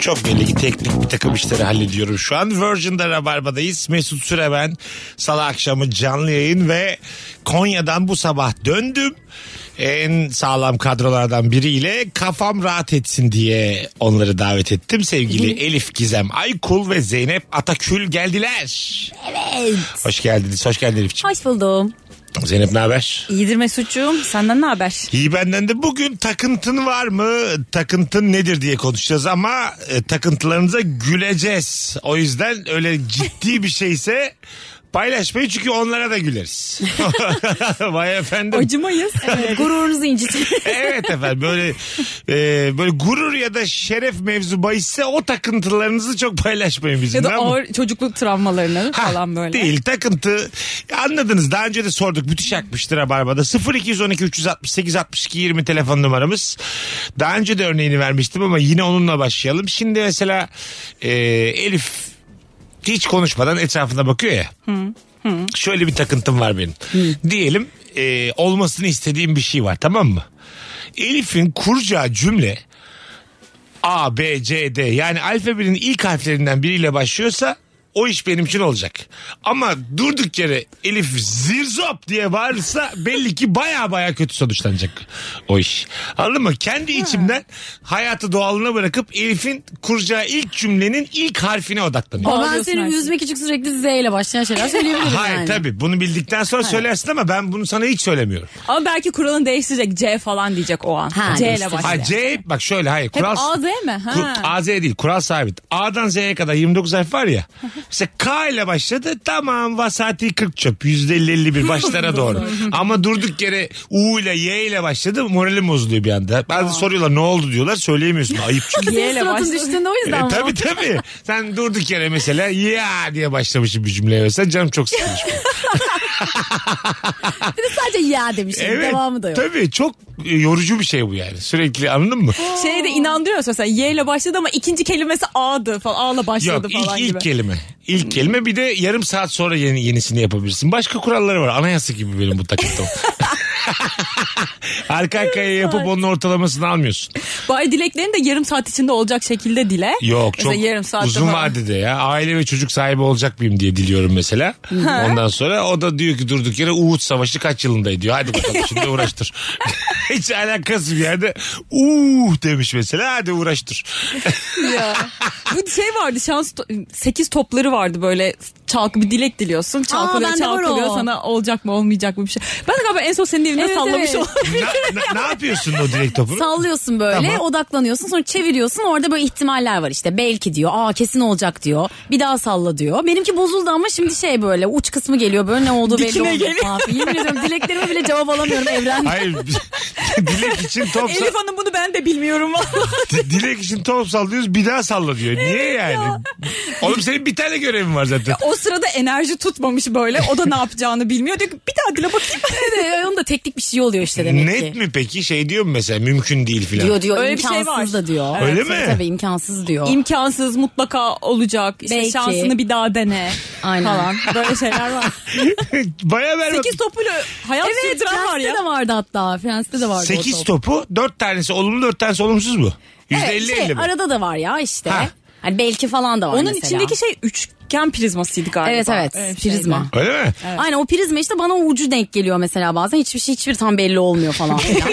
Çok belli ki teknik bir takım işleri hallediyorum şu an. Virgin'de Rabarba'dayız. Mesut Süre ben. Salı akşamı canlı yayın ve Konya'dan bu sabah döndüm. En sağlam kadrolardan biriyle kafam rahat etsin diye onları davet ettim. Sevgili Elif Gizem Aykul ve Zeynep Atakül geldiler. Evet. Hoş geldiniz. Hoş geldin Elif'ciğim. Hoş buldum. Zeynep ne haber? İyidir Mesut'cuğum. Senden ne haber? İyi benden de bugün takıntın var mı? Takıntın nedir diye konuşacağız ama e, takıntılarınıza güleceğiz. O yüzden öyle ciddi bir şeyse paylaşmayın çünkü onlara da güleriz. Vay efendim. Acımayız. Gururunuzu incitin. Evet efendim böyle e, böyle gurur ya da şeref mevzu bahisse o takıntılarınızı çok paylaşmayın bizimle. Ya da ama- ağır çocukluk travmalarını Ha, falan böyle. Değil takıntı. Anladınız daha önce de sorduk. Müthiş akmıştır Rabarba'da. 0212 368 62 20 telefon numaramız. Daha önce de örneğini vermiştim ama yine onunla başlayalım. Şimdi mesela e, Elif hiç konuşmadan etrafına bakıyor ya. Şöyle bir takıntım var benim. Diyelim e, olmasını istediğim bir şey var tamam mı? Elif'in kuracağı cümle A, B, C, D yani alfabenin ilk harflerinden biriyle başlıyorsa o iş benim için olacak. Ama durduk yere Elif zirzop diye bağırırsa belli ki baya baya kötü sonuçlanacak o iş. Anladın mı? Kendi içimden hayatı doğalına bırakıp Elif'in kuracağı ilk cümlenin ilk harfine odaklanıyorum. Ama ben Ağlıyorsun senin Ayşe. yüzme küçük sürekli Z ile başlayan şeyler söyleyebilirim Hayır yani. tabii bunu bildikten sonra söylersin ama ben bunu sana hiç söylemiyorum. Ama belki kuralını değiştirecek. C falan diyecek o an. Ha, C ile değiştirecek. başlıyor. Ha C bak şöyle hayır kural. A, Z mi? Ha. Kur- A, Z değil kural sabit. A'dan Z'ye kadar 29 harf var ya. Mesela K ile başladı tamam vasati 40 çöp %50-51 başlara doğru. Ama durduk yere U ile Y ile başladı moralim bozuluyor bir anda. Bazen soruyorlar ne oldu diyorlar söyleyemiyorsun ayıp çünkü. Y Senin ile suratın başlıyor. düştüğünde o E, yüzden tabii mi? tabii. Sen durduk yere mesela ya diye başlamışım bir cümleye mesela canım çok sıkılmış. Bir de sadece ya demişim. evet. Devamı da yok. Tabii çok e, yorucu bir şey bu yani. Sürekli anladın mı? Şeye Şey de inandırıyoruz mesela Y ile başladı ama ikinci kelimesi A'dı falan. A ile başladı Yok ilk, falan gibi. Hmm. ilk kelime. İlk kelime bir de yarım saat sonra yeni, yenisini yapabilirsin. Başka kuralları var. Anayasa gibi benim bu takıntım. Arka arkaya yapıp onun ortalamasını almıyorsun. Bari dileklerini de yarım saat içinde olacak şekilde dile. Yok Mesela çok yarım saatte uzun falan. vadede ya. Aile ve çocuk sahibi olacak mıyım diye diliyorum mesela. Ondan sonra o da diyor ki durduk yere Uğut Savaşı kaç yılındaydı diyor. Hadi bakalım şimdi uğraştır. Hiç alakası bir yerde uh demiş mesela hadi uğraştır. Ya. Bu şey vardı şans 8 topları vardı böyle çalkı bir dilek diliyorsun. Çalkalıyor bende var o. çalkalıyor sana olacak mı olmayacak mı bir şey. Ben de galiba en son senin evinde Evet, sallamış evet. oldum. ne, ne- ne yapıyorsun o direkt topunu? Sallıyorsun böyle Tamam. odaklanıyorsun sonra çeviriyorsun orada böyle ihtimaller var işte belki diyor aa kesin olacak diyor bir daha salla diyor. Benimki bozuldu ama şimdi şey böyle uç kısmı geliyor böyle ne oldu belli Dikine oldu geliyor. falan. Yemin ediyorum dileklerime bile cevap alamıyorum evren. Hayır dilek için top sal- Elif Hanım bunu ben de bilmiyorum vallahi. di- dilek için top sallıyoruz bir daha salla diyor. Niye yani? Oğlum senin bir tane görevin var zaten. O sırada enerji tutmamış böyle. O da ne yapacağını bilmiyor. Diyor ki bir daha dile bakayım. Ee, Onun da teknik bir şey oluyor işte demek Net ki. mi peki? Şey diyor mu mesela mümkün değil filan. Diyor diyor Öyle bir şey imkansız var. da diyor. Öyle mi? Tabii, tabii imkansız diyor. İmkansız mutlaka olacak. İşte Belki. şansını bir daha dene. Aynen. Falan. Böyle şeyler var. Baya berbat. 8 topuyla hayat Evet sürdüren var ya. Prens'te de vardı hatta. Prens'te de vardı o 8 top. topu 4 tanesi olumlu 4 tanesi olumsuz mu? %50 Evet, şey, 50 mi? Arada da var ya işte. Ha. Hani belki falan da var Onun mesela. içindeki şey üçgen prizmasıydı galiba. Evet evet Öyle bir şeydi. prizma. Öyle mi? Aynen o prizma işte bana o ucu denk geliyor mesela bazen. Hiçbir şey hiçbir tam belli olmuyor falan. filan.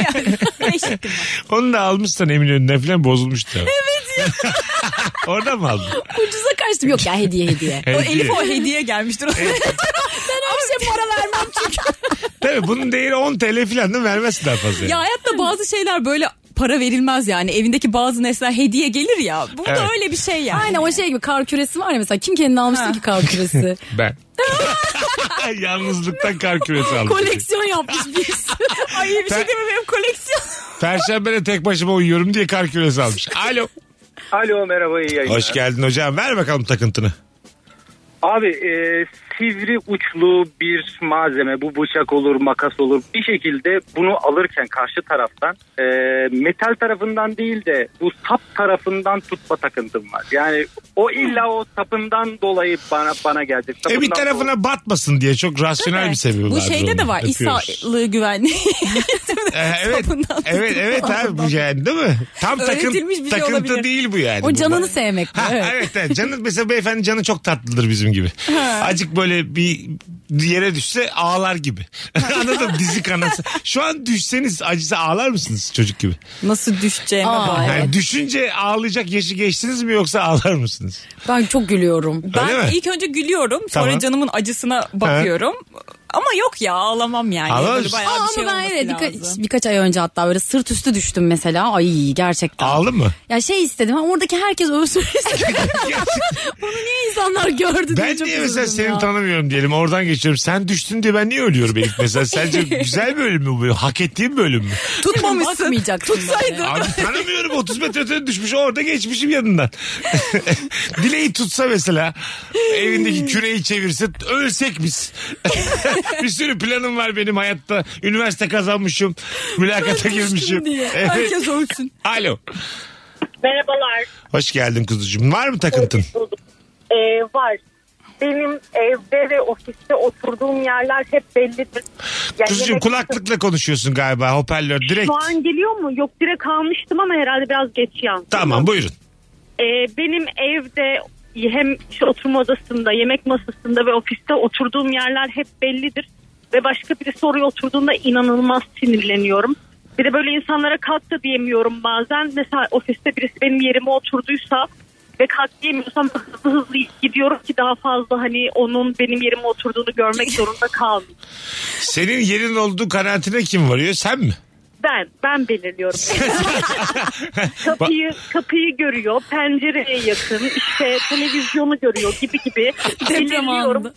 Onu da almışsan Eminönü'nden falan bozulmuştu. Evet ya. Oradan mı aldın? Ucuza kaçtım. Yok ya hediye hediye. O Hediye. Elif o hediye gelmiştir. Hiçbir şey para vermem çünkü. Tabii bunun değeri 10 TL falan değil mi? Vermezsin daha fazla. ya hayatta bazı şeyler böyle para verilmez yani. Evindeki bazı nesneler hediye gelir ya. Bu Evet. da öyle bir şey yani. Aynen o şey gibi kar küresi var ya mesela. Kim kendine almıştı Ha. ki kar küresi? Ben. Yalnızlıktan kar küresi aldım. Koleksiyon yapmış birisi. Ay bir Ben- şey değil mi benim koleksiyon. Perşembe de tek başıma uyuyorum diye kar küresi almış. Alo. Alo merhaba iyi yayınlar. E, Hoş geldin hocam. Ver bakalım takıntını. Abi e, sivri uçlu bir malzeme bu bıçak olur makas olur bir şekilde bunu alırken karşı taraftan e, metal tarafından değil de bu sap tarafından tutma takıntım var. Yani o illa o sapından dolayı bana bana gelecek. E bir Sapından dolayı. tarafına batmasın diye çok rasyonel bir şey seviyorlar. Bu şeyde de var. İş sağlığı güvenliği. Ee, evet, sapından evet, tutun evet abi bu yani değil mi? Tam takın, Öğretilmiş bir şey takıntı olabilir. değil bu yani. O Bu canını bak- sevmek. Ha, evet. evet. evet. Canı, mesela beyefendi canı çok tatlıdır bizim gibi. Acık böyle bir yere düşse ağlar gibi. Anladın mı? Dizi kanası. Şu an düşseniz acısı ağlar mısınız çocuk gibi? Nasıl düşeceğime Aa, bak. Yani Evet. düşünce ağlayacak yaşı geçtiniz mi yoksa ağlar mısınız? Ben çok gülüyorum. Öyle mi? Ben ilk önce gülüyorum. Sonra Tamam. canımın acısına bakıyorum. Ama yok ya ağlamam yani. Ağlamaz Böyle mısın? bayağı Aa, bir ama şey ben olması evet birka- lazım. birkaç ay önce hatta böyle sırt üstü düştüm mesela. Ay gerçekten. Ağlı mı? Ya şey istedim ha, oradaki herkes ölsün istedim. Bunu niye insanlar gördü diye Ben çok niye mesela üzüldüm seni ya. tanımıyorum diyelim oradan geçiyorum. Sen düştün diye ben niye ölüyorum Elif mesela? Sence güzel bir ölüm mü bu? Hak ettiğim bir ölüm mü? Tutmamışsın. Bakmayacaksın Tutsaydın. yani. Abi tanımıyorum 30 metre ötede düşmüş orada geçmişim yanından. Dileği tutsa mesela evindeki küreyi çevirse ölsek biz. bir sürü planım var benim hayatta. Üniversite kazanmışım. Mülakata girmişim. Evet. Herkes ölsün. Alo. Merhabalar. Hoş geldin kuzucuğum. Var mı takıntın? Bulduk. Ee, var. Benim evde ve ofiste oturduğum yerler hep bellidir. Yani Kuzucuğum yemek- kulaklıkla konuşuyorsun galiba hoparlör direkt. Şu an geliyor mu? Yok direkt almıştım ama herhalde biraz geç yan. Tamam buyurun. Ee, benim evde hem şu oturma odasında, yemek masasında ve ofiste oturduğum yerler hep bellidir. Ve başka biri soruya oturduğunda inanılmaz sinirleniyorum. Bir de böyle insanlara kalk da diyemiyorum bazen. Mesela ofiste birisi benim yerime oturduysa ve kalk diyemiyorsam hızlı hızlı gidiyorum ki daha fazla hani onun benim yerime oturduğunu görmek zorunda kalmayayım. Senin yerin olduğu kanaatine kim varıyor sen mi? Ben, ben belirliyorum. kapıyı, kapıyı görüyor, pencereye yakın, işte televizyonu görüyor gibi gibi. Deprem Belirliyorum. anında.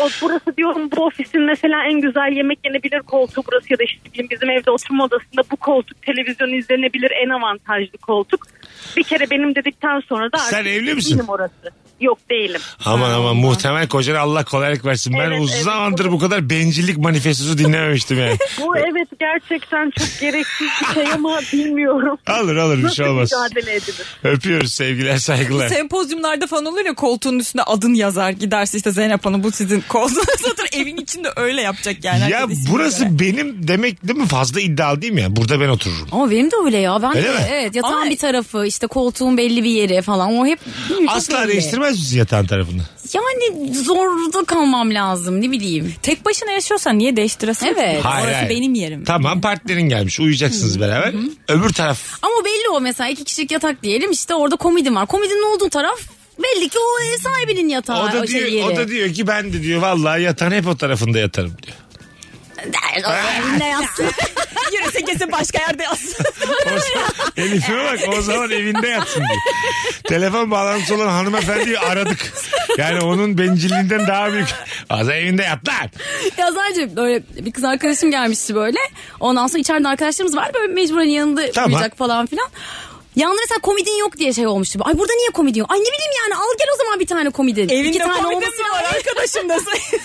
O, burası diyorum bu ofisin mesela en güzel yemek yenebilir koltuğu burası ya da işte bizim, bizim evde oturma odasında bu koltuk televizyon izlenebilir en avantajlı koltuk. Bir kere benim dedikten sonra da Sen artık evli misin? Benim orası. Yok değilim. Aman aman muhtemel kocan Allah kolaylık versin. Ben Evet, uzun evet. zamandır bu kadar bencillik manifestosu dinlememiştim yani. Bu evet gerçekten çok gereksiz bir şey ama bilmiyorum. Alır alır bir şey Nasıl olmaz. mücadele edilir? Öpüyoruz sevgiler saygılar. Sempozyumlarda falan olur ya koltuğun üstüne adın yazar giderse işte Zeynep Hanım bu sizin koltuğunuz zaten evin içinde öyle yapacak yani. Ya Herkes ismini burası göre. benim demek değil mi? Fazla iddialı değil mi ya? Burada ben otururum. Ama benim de öyle ya. Ben Öyle de- mi? evet yatağın Ama- bir tarafı işte koltuğun belli bir yeri falan. O hep bilmiyorum, çok Asla belli. değiştirmez misin yatağın tarafını? Yani zorda kalmam lazım ne bileyim. Tek başına yaşıyorsan niye değiştiresin? Evet. Ki? Orası benim yerim. Tamam partnerin gelmiş. Uyuyacaksınız beraber. Öbür taraf. Ama belli o mesela iki kişilik yatak diyelim işte orada komodin var. Komodinin olduğu taraf belli ki o ev sahibinin yatağı. o da şey diyor yeri. o da diyor ki ben de diyor vallahi yatağın hep o tarafında yatarım diyor. Ne yapsın? Yürüse kesin başka yerde yazsın. O zaman- Elif'e bak o zaman evinde yatsın diyor. Telefon bağlantısı olan hanımefendiyi aradık. Yani onun bencilliğinden daha büyük. Az evinde yat lan. Ya sadece böyle bir kız arkadaşım gelmişti böyle. Ondan sonra içeride arkadaşlarımız var böyle mecburen yanında Tamam. uyuyacak falan filan. Yanında mesela komidin yok diye şey olmuştu. Ay burada niye komidin yok? Ay ne bileyim yani al gel o zaman bir tane komidin. Evinde İki tane komedin olması mi var lazım. arkadaşım da sen-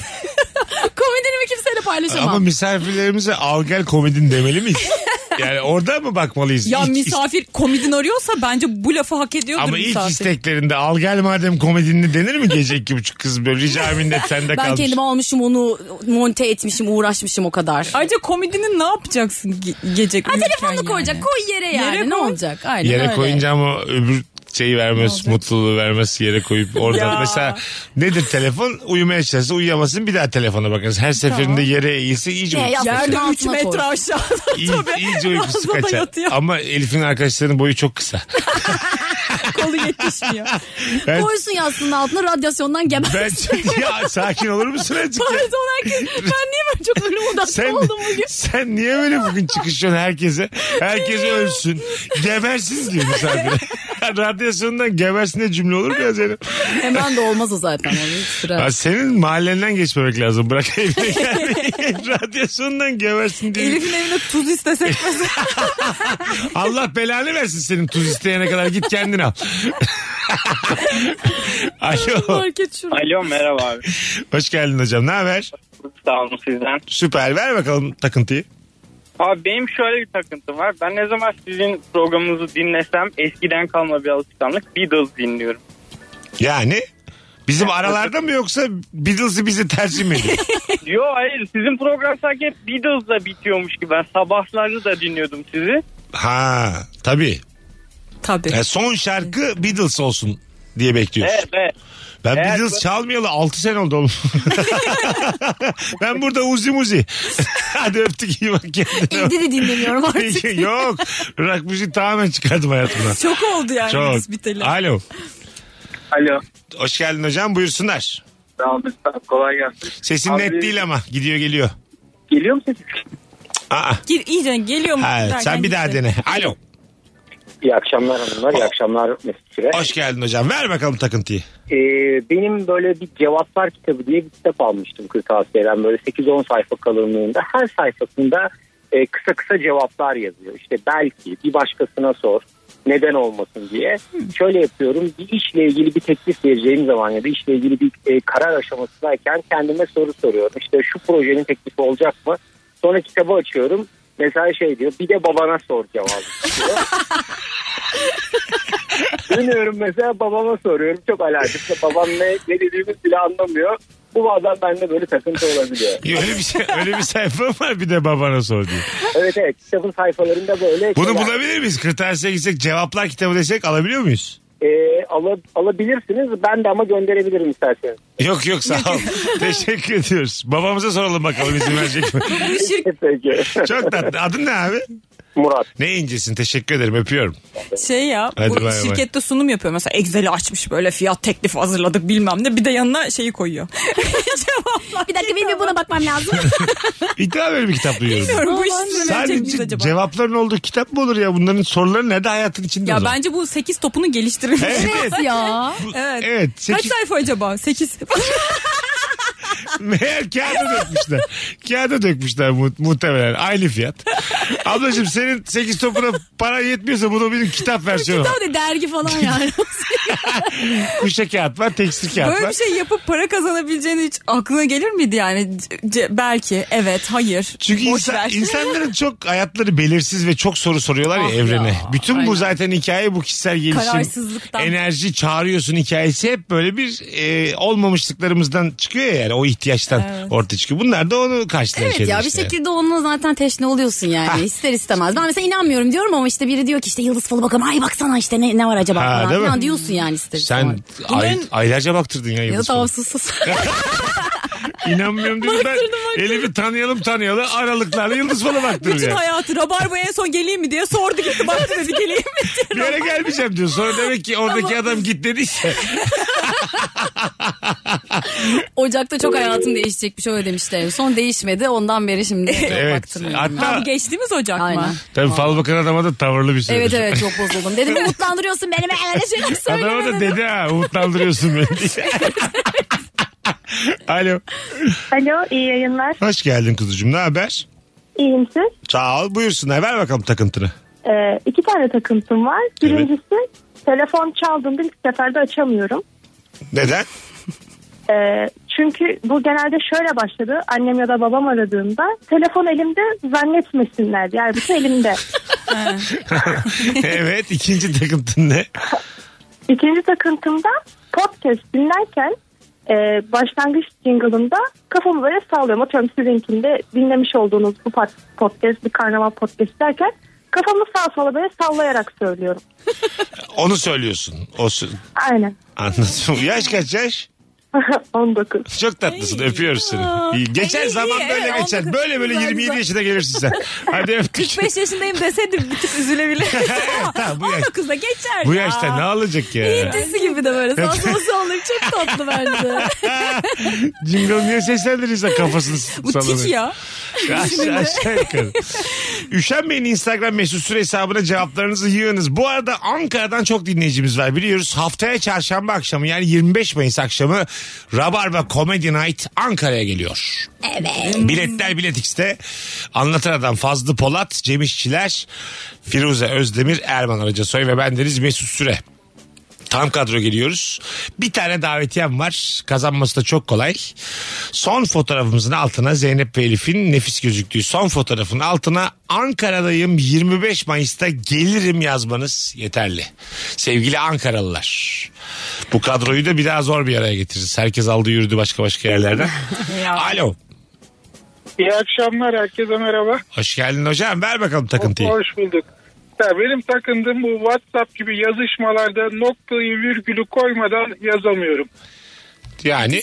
Komidinimi kimseyle paylaşamam. Ama misafirlerimize al gel komedin demeli miyiz? Yani orada mı bakmalıyız? Ya İlk- misafir komidin arıyorsa bence bu lafı hak ediyordur Ama ilk misafir. isteklerinde al gel madem komedinli denir mi gece iki buçuk kız böyle rica minnet sende ben kalmış. kendimi almışım onu monte etmişim uğraşmışım o kadar. Ayrıca komidini ne yapacaksın ge- gece ha, uyurken telefonunu yani? koyacak koy yere yani Yere ne koy. olacak? Aynen Yere öyle. koyunca ama öbür şeyi vermez, mutluluğu vermez yere koyup orada Ya. mesela nedir telefon uyumaya çalışsa uyuyamasın bir daha telefona bakınız. Her seferinde yere eğilse iyice Ya, uykusu ya. kaçar. Yerde Altına 3 metre koy. aşağıda İyi, tabii. iyice uykusu Ağzına da kaçar. yatıyor. Ama Elif'in arkadaşlarının boyu çok kısa. Kolu yetişmiyor. Ben, Koysun yastığının altına radyasyondan geber. ben ya sakin olur musun azıcık ya? Pardon herkes ben niye böyle çok ölüm odaklı Sen, oldum bugün? sen niye böyle bugün çıkışıyorsun herkese? Herkes ölsün. Gebersin diyor misafire. Radyasyondan gebersin de cümle olur mu ya Zeynep? Hemen de olmaz o zaten. o bir süre. Ya senin mahallenden geçmemek lazım. Bırak evine gelmeyi. Radyasyondan gebersin diye. Elif'in evine tuz istesek mesela. Allah belanı versin senin tuz isteyene kadar git kendin al. Alo. Market şurada. Alo merhaba abi. Hoş geldin hocam. Ne haber? Sağ olun sizden. Süper. Ver bakalım takıntıyı. Abi benim şöyle bir takıntım var. Ben ne zaman sizin programınızı dinlesem eskiden kalma bir alışkanlık Beatles dinliyorum. Yani bizim aralarda mı yoksa Beatles'ı bize tercih mi ediyor? Yo hayır sizin program sanki hep Beatles'la bitiyormuş gibi. Ben sabahları da dinliyordum sizi. ha tabii. Tabii. Yani son şarkı Beatles olsun diye bekliyoruz. Evet evet. ben eğer Beatles bu- çalmayalı 6 sene oldu oğlum. ben burada uzi muzi. Hadi öptük iyi bak kendine. Evde de dinlemiyorum artık. Yok. Rock müziği tamamen çıkardım hayatımdan. Çok oldu yani biz Çok. biteli. Alo. Alo. Hoş geldin hocam buyursunlar. Sağ olun. sağ olun. Kolay gelsin. Sesin Abi- net değil ama gidiyor geliyor. Geliyor mu sesim? Aa, Gir, iyice geliyor mu? ha, derken sen bir daha gitti. dene. Alo. İyi akşamlar hanımlar, iyi akşamlar Mesut Süre. Hoş geldin hocam. Ver bakalım takıntıyı. Ee, benim böyle bir cevaplar kitabı diye bir kitap almıştım kırtasiyeden böyle 8-10 sayfa kalınlığında. Her sayfasında e, kısa kısa cevaplar yazıyor. İşte belki bir başkasına sor neden olmasın diye. Şöyle yapıyorum bir işle ilgili bir teklif vereceğim zaman ya da işle ilgili bir e, karar aşamasındayken kendime soru soruyorum. İşte şu projenin teklifi olacak mı? Sonra kitabı açıyorum. Mesela şey diyor bir de babana sor cevabı. diyor. Dönüyorum mesela babama soruyorum. Çok alakası. Babam ne, ne dediğimi bile anlamıyor. Bu bazen bende böyle takıntı olabiliyor. Öyle bir şey, öyle bir sayfa var bir de babana sor diye. Evet evet kitabın sayfalarında böyle Bunu şeyler, bulabilir miyiz? Kırtasiye gitsek cevaplar kitabı desek alabiliyor muyuz? e, ala- alabilirsiniz. Ben de ama gönderebilirim isterseniz. Yok yok sağ ol. Teşekkür ediyoruz. Babamıza soralım bakalım izin verecek mi? Peki. Çok tatlı. Adın ne abi? Murat. Ne incesin. Teşekkür ederim. Öpüyorum. Şey ya Hadi bu bay bay. şirkette sunum yapıyor mesela Excel'i açmış böyle fiyat teklifi hazırladık bilmem ne bir de yanına şeyi koyuyor. Cevaplar. Bir dakika benim bir buna bakmam lazım. İlk daha böyle bir kitap duyuyorum. Bilmiyorum, bu iş Aman size verecek miyiz Sadece acaba? cevapların olduğu kitap mı olur ya? Bunların soruları ne de hayatın içinde o ya zaman. bence bu 8 topunu geliştirilmiş. Evet. evet ya. Bu- Evet. Evet. Kaç Sekiz, sayfa acaba? 8. meğer kağıda dökmüşler. kağıda dökmüşler mu- muhtemelen. Aynı fiyat. Ablacığım senin 8 topuna para yetmiyorsa bu da bizim kitap versiyonu. Kitap da dergi falan yani. Kuşa kağıt var, tekstil kağıt Böyle var. bir şey yapıp para kazanabileceğini hiç aklına gelir miydi yani? C- c- belki evet hayır. Çünkü Boş insan- ver. insanların çok hayatları belirsiz ve çok soru soruyorlar ya Ah evrene. ya, Bütün bu aynen. zaten hikaye bu kişisel gelişim. Kararsızlıktan. Enerji çağırıyorsun hikayesi hep böyle bir e, olmamışlıklarımızdan çıkıyor ya yani o ihtiyaçtan ortaya çıkıyor. Bunlar da onu karşılayan Evet şeyler ya bir işte. şekilde onunla zaten teşne oluyorsun yani ister istemez. Ben mesela inanmıyorum diyorum ama işte biri diyor ki işte yıldız falı bakalım ay baksana işte ne, ne var acaba Ha, falan değil mi? filan diyorsun yani ister istemez. Sen ay- aylarca baktırdın ya Ya Yıldız tamam Hanım. sus sus. İnanmıyorum dedim ben. Elimi tanıyalım tanıyalım aralıklarla Yıldız Falı baktırıyor. Bütün ya. hayatı Rabarba'ya en son geleyim mi diye sordu gitti baktı dedi geleyim mi diye. Bir yere gelmeyeceğim diyor. Sonra demek ki oradaki adam git dediyse. Ocak'ta çok hayatım değişecekmiş öyle demişler. Son değişmedi ondan beri şimdi Evet. baktırmıyorum. ben. Hatta Bu geçtiğimiz Ocak mı? Aynen. tabii fal bakan adama da tavırlı bir şey. Evet evet çok bozuldum. Dedim umutlandırıyorsun beni ben öyle şeyler Adama da söylemedim. dedi ha umutlandırıyorsun beni diye. Alo. Alo iyi yayınlar. Hoş geldin kuzucuğum. Ne haber? İyiyim siz. Sağ ol. Buyursunlar. Ver bakalım takıntını. Ee, iki tane takıntım var. Birincisi telefon çaldığında ilk seferde açamıyorum. Neden? Ee, çünkü bu genelde şöyle başladı. Annem ya da babam aradığında telefon elimde zannetmesinler. Yani bütün elimde. evet. ikinci takıntın ne? İkinci takıntımda podcast dinlerken e, başlangıç jingle'ında kafamı böyle sallıyorum. Atıyorum sizinkinde dinlemiş olduğunuz bu pod- podcast bir karnaval podcast derken kafamı sağa sola böyle sallayarak söylüyorum. Onu söylüyorsun. O sö- Aynen. Anladım. Yaş kaç yaş? 19. Çok tatlısın. Öpüyoruz seni. İyi. Geçer Ay, iyi, zaman evet, böyle on geçer. dokuz Böyle böyle güzel, 27 güzel. yaşına gelirsin sen. Hadi öptük. 5 yaşındayım deseydim bir tık üzülebilirdim. Evet, tamam, bu yaş- 19'da geçer Bu ya. yaşta ne alacak ya? Dizisi gibi de böyle sağ sola sallayıp çok tatlı bence. Jingle niye seslendirirsen kafasını Bu tik sallanıyor. ya. Aşağı, aşağı yukarı. Üşenmeyin Instagram mesut süre hesabına cevaplarınızı yığınız. Bu arada Ankara'dan çok dinleyicimiz var biliyoruz. Haftaya çarşamba akşamı yani 25 Mayıs akşamı Rabarba Comedy Night Ankara'ya geliyor. Evet. Biletler Bilet X'te. Anlatan Adam Fazlı Polat, Cem İşçiler, Firuze Özdemir, Erman Arıca Soy ve bendeniz Mesut Süre. Tam kadro geliyoruz. Bir tane davetiyem var. Kazanması da çok kolay. Son fotoğrafımızın altına Zeynep ve Elif'in nefis gözüktüğü son fotoğrafın altına Ankara'dayım 25 Mayıs'ta gelirim yazmanız yeterli. Sevgili Ankaralılar. Bu kadroyu da bir daha zor bir araya getiririz. Herkes aldı yürüdü başka başka yerlerden. Alo. İyi akşamlar herkese merhaba. Hoş geldin hocam. Ver bakalım takıntıyı. Hoş bulduk. Ya benim takındığım bu WhatsApp gibi yazışmalarda noktayı virgülü koymadan yazamıyorum. Yani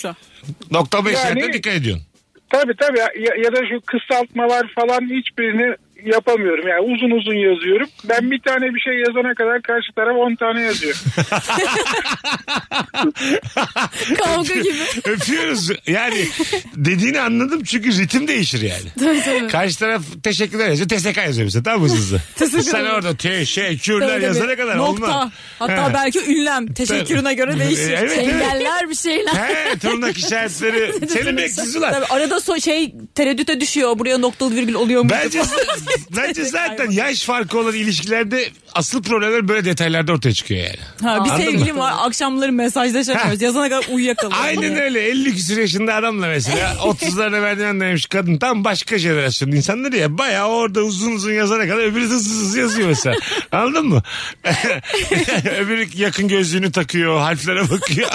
nokta beşlerde Yani- dikkat ediyorsun. Tabii tabii ya, ya da şu kısaltmalar falan hiçbirini yapamıyorum. Yani uzun uzun yazıyorum. Ben bir tane bir şey yazana kadar karşı taraf 10 tane yazıyor. Kavga gibi. Öpüyoruz. Yani dediğini anladım çünkü ritim değişir yani. Tabii, tabii. Karşı taraf teşekkürler yazıyor. TSK yazıyor bize tamam mı hızlı? Sen orada teşekkürler Tabii, yazana tabii. kadar Nokta. olmaz. Hatta Ha. belki ünlem. Teşekkürüne göre değişir. Evet, evet. Engeller bir şeyler. He tırnak işaretleri. Senin bekçisi Tabii var. arada so şey tereddüte düşüyor. Buraya noktalı virgül oluyor mu? Bence, bence zaten yaş farkı olan ilişkilerde asıl problemler böyle detaylarda ortaya çıkıyor yani. Ha, bir Anladın sevgilim var. Akşamları mesajlaşamıyoruz. Yazana kadar uyuyakalıyor. Aynen öyle 50 küsur yaşında adamla mesela 30'larına merdiven dayamış kadın tam başka jenerasyon insanları ya bayağı orada uzun uzun yazana kadar öbürü hızlı hızlı yazıyor mesela anladın mı? öbürü yakın gözlüğünü takıyor harflere bakıyor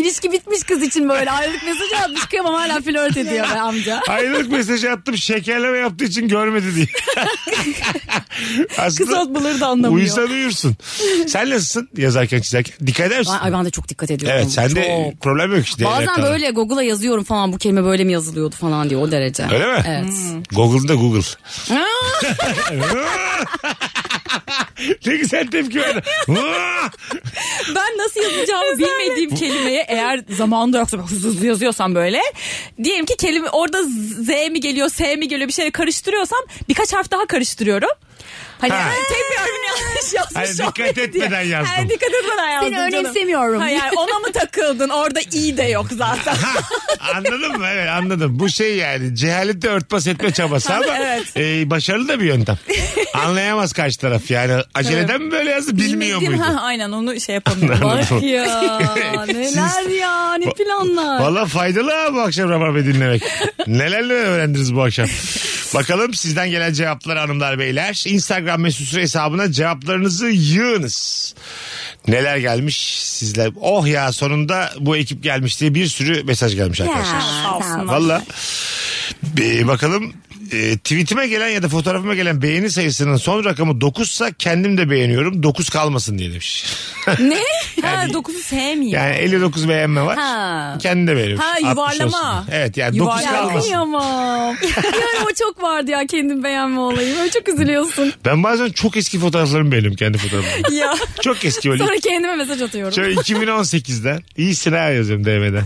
İlişki bitmiş kız için böyle ayrılık mesajı atmış kıyamam hala flört ediyor be amca. ayrılık mesajı attım şekerleme yaptığı için görmedi diye. Aslında Kısaltmaları da anlamıyor. uyusan uyursun. Sen nasılsın yazarken çizerken dikkat eder misin? Ay, ay ben de çok dikkat ediyorum. Evet sende Çok. problem yok işte. Bazen Evet, böyle Google'a yazıyorum falan bu kelime böyle mi yazılıyordu falan diyor o derece. Öyle mi? Hmm. Evet. Google'da Google. ne güzel tepki verdi. Ben nasıl yazacağımı bilmediğim kelimeye eğer zamanında yoksa hızlı hızlı yazıyorsam böyle diyelim ki kelime orada Z mi geliyor S mi geliyor bir şeye karıştırıyorsam birkaç harf daha karıştırıyorum. Hani Ha. tek bir harfini yanlış Hayır, yazmış. dikkat olmayayım etmeden diye. yazdım. Hayır, dikkat etmeden yazdım. Seni canım. önemsemiyorum. Hayır ona mı takıldın orada i de yok zaten. Anladın mı? Evet anladım. Bu şey yani cehaleti örtbas etme çabası ama Evet. e, başarılı da bir yöntem. Anlayamaz karşı taraf yani. Aceleden mi böyle yazdı bilmiyor Bilmediğim- muydu? Ha, aynen onu şey yapamıyorum. Anladım. Bak ya. Ya neler ya ne planlar. Valla faydalı ha bu akşam Rabarba dinlemek. Neler neler öğrendiniz bu akşam. Bakalım sizden gelen cevaplar hanımlar beyler. Instagram mesut süre hesabına cevaplarınızı yığınız. Neler gelmiş sizler. Oh ya sonunda bu ekip gelmiş diye bir sürü mesaj gelmiş arkadaşlar. Sağ olsunlar. Valla. Bir bakalım e, tweetime gelen ya da fotoğrafıma gelen beğeni sayısının son rakamı 9 sa kendim de beğeniyorum. 9 kalmasın diye demiş. Ne? Ha, dokuzu sevmiyor. Yani 59 beğenme var. Ha. Kendi de beğeniyorum. Ha, 60 yuvarlama. olsun. Evet yani 9 Yuvarlama. Ya kalmasın. kıyamam. yani o çok vardı ya kendim beğenme olayı. Böyle çok üzülüyorsun. Ben bazen çok eski fotoğraflarımı beğeniyorum kendi fotoğraflarımı. Ya. çok eski öyle. Sonra kendime mesaj atıyorum. Şöyle 2018'den. İyisin ha yazıyorum DM'den.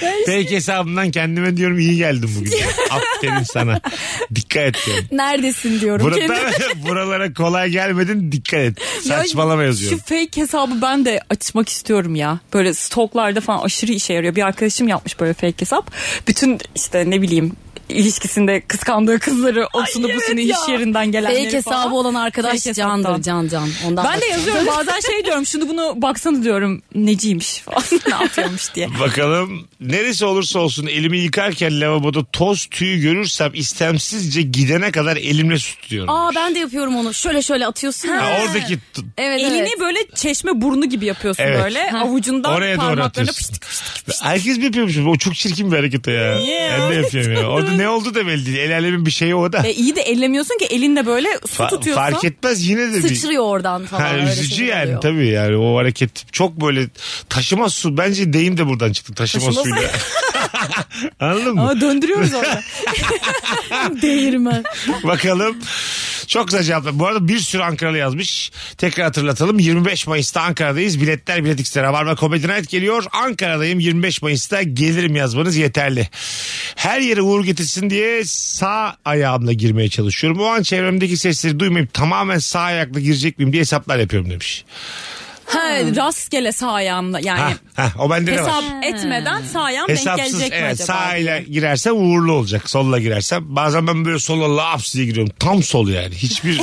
şey- Fake hesabımdan kendime diyorum iyi geldim bugün. Aferin sana. Dikkat et diyorum. Neredesin diyorum. kendime. Burada, buralara kolay gelmedin dikkat et. Saçmalama Ya yazıyorum. Şu fake hesabı ben de açmak istiyorum ya. Böyle stoklarda falan aşırı işe yarıyor. Bir arkadaşım yapmış böyle fake hesap. Bütün işte ne bileyim ilişkisinde kıskandığı kızları osunu busunu ya. iş yerinden gelenleri Fake falan. hesabı olan arkadaş Fake candır hesaptan. can can. Ondan Ben de bak- yazıyorum bazen şey diyorum şunu bunu baksana diyorum neciymiş falan ne yapıyormuş diye. Bakalım neresi olursa olsun elimi yıkarken lavaboda toz tüyü görürsem istemsizce gidene kadar elimle su tutuyorum. Aa ben de yapıyorum onu. Şöyle şöyle atıyorsun. ya. Ha, oradaki t- Evet, Elini evet. böyle çeşme burnu gibi yapıyorsun Evet. böyle avucundan Oraya doğru parmaklarına atıyorsun. Herkes mi yapıyormuş? O çok çirkin bir hareket o ya. Ben de yapıyorum ya. Orada ne oldu da belli değil. El alemin bir şeyi o da. E, iyi de ellemiyorsun ki elinle böyle su Fa- tutuyorsun. fark etmez yine de bir. Sıçrıyor oradan falan. Ha, öyle üzücü şeyler yani oluyor. tabii yani o hareket çok böyle taşıma su bence deyim de buradan çıktı taşıma, Taşıma su. suyla. Anladın mı? Ama döndürüyoruz orada. Değirmen. Bakalım. Çok güzel cevaplar. Bu arada bir sürü Ankaralı yazmış. Tekrar hatırlatalım. 25 Mayıs'ta Ankara'dayız. Biletler Bilet X'de Rabarba Comedy Night geliyor. Ankara'dayım 25 Mayıs'ta gelirim yazmanız yeterli. Her yere uğur getirsin diye sağ ayağımla girmeye çalışıyorum. O an çevremdeki sesleri duymayıp tamamen sağ ayakla girecek miyim diye hesaplar yapıyorum demiş. Ha, rastgele sağ ayağımla yani Hmm. Ha, ha, o bende de var. hesap etmeden sağ ayağım denk Hesapsız gelecek mi evet acaba? sağıyla girersem uğurlu olacak. Solla girersem bazen ben böyle sola laps diye giriyorum. Tam sol yani. Hiçbir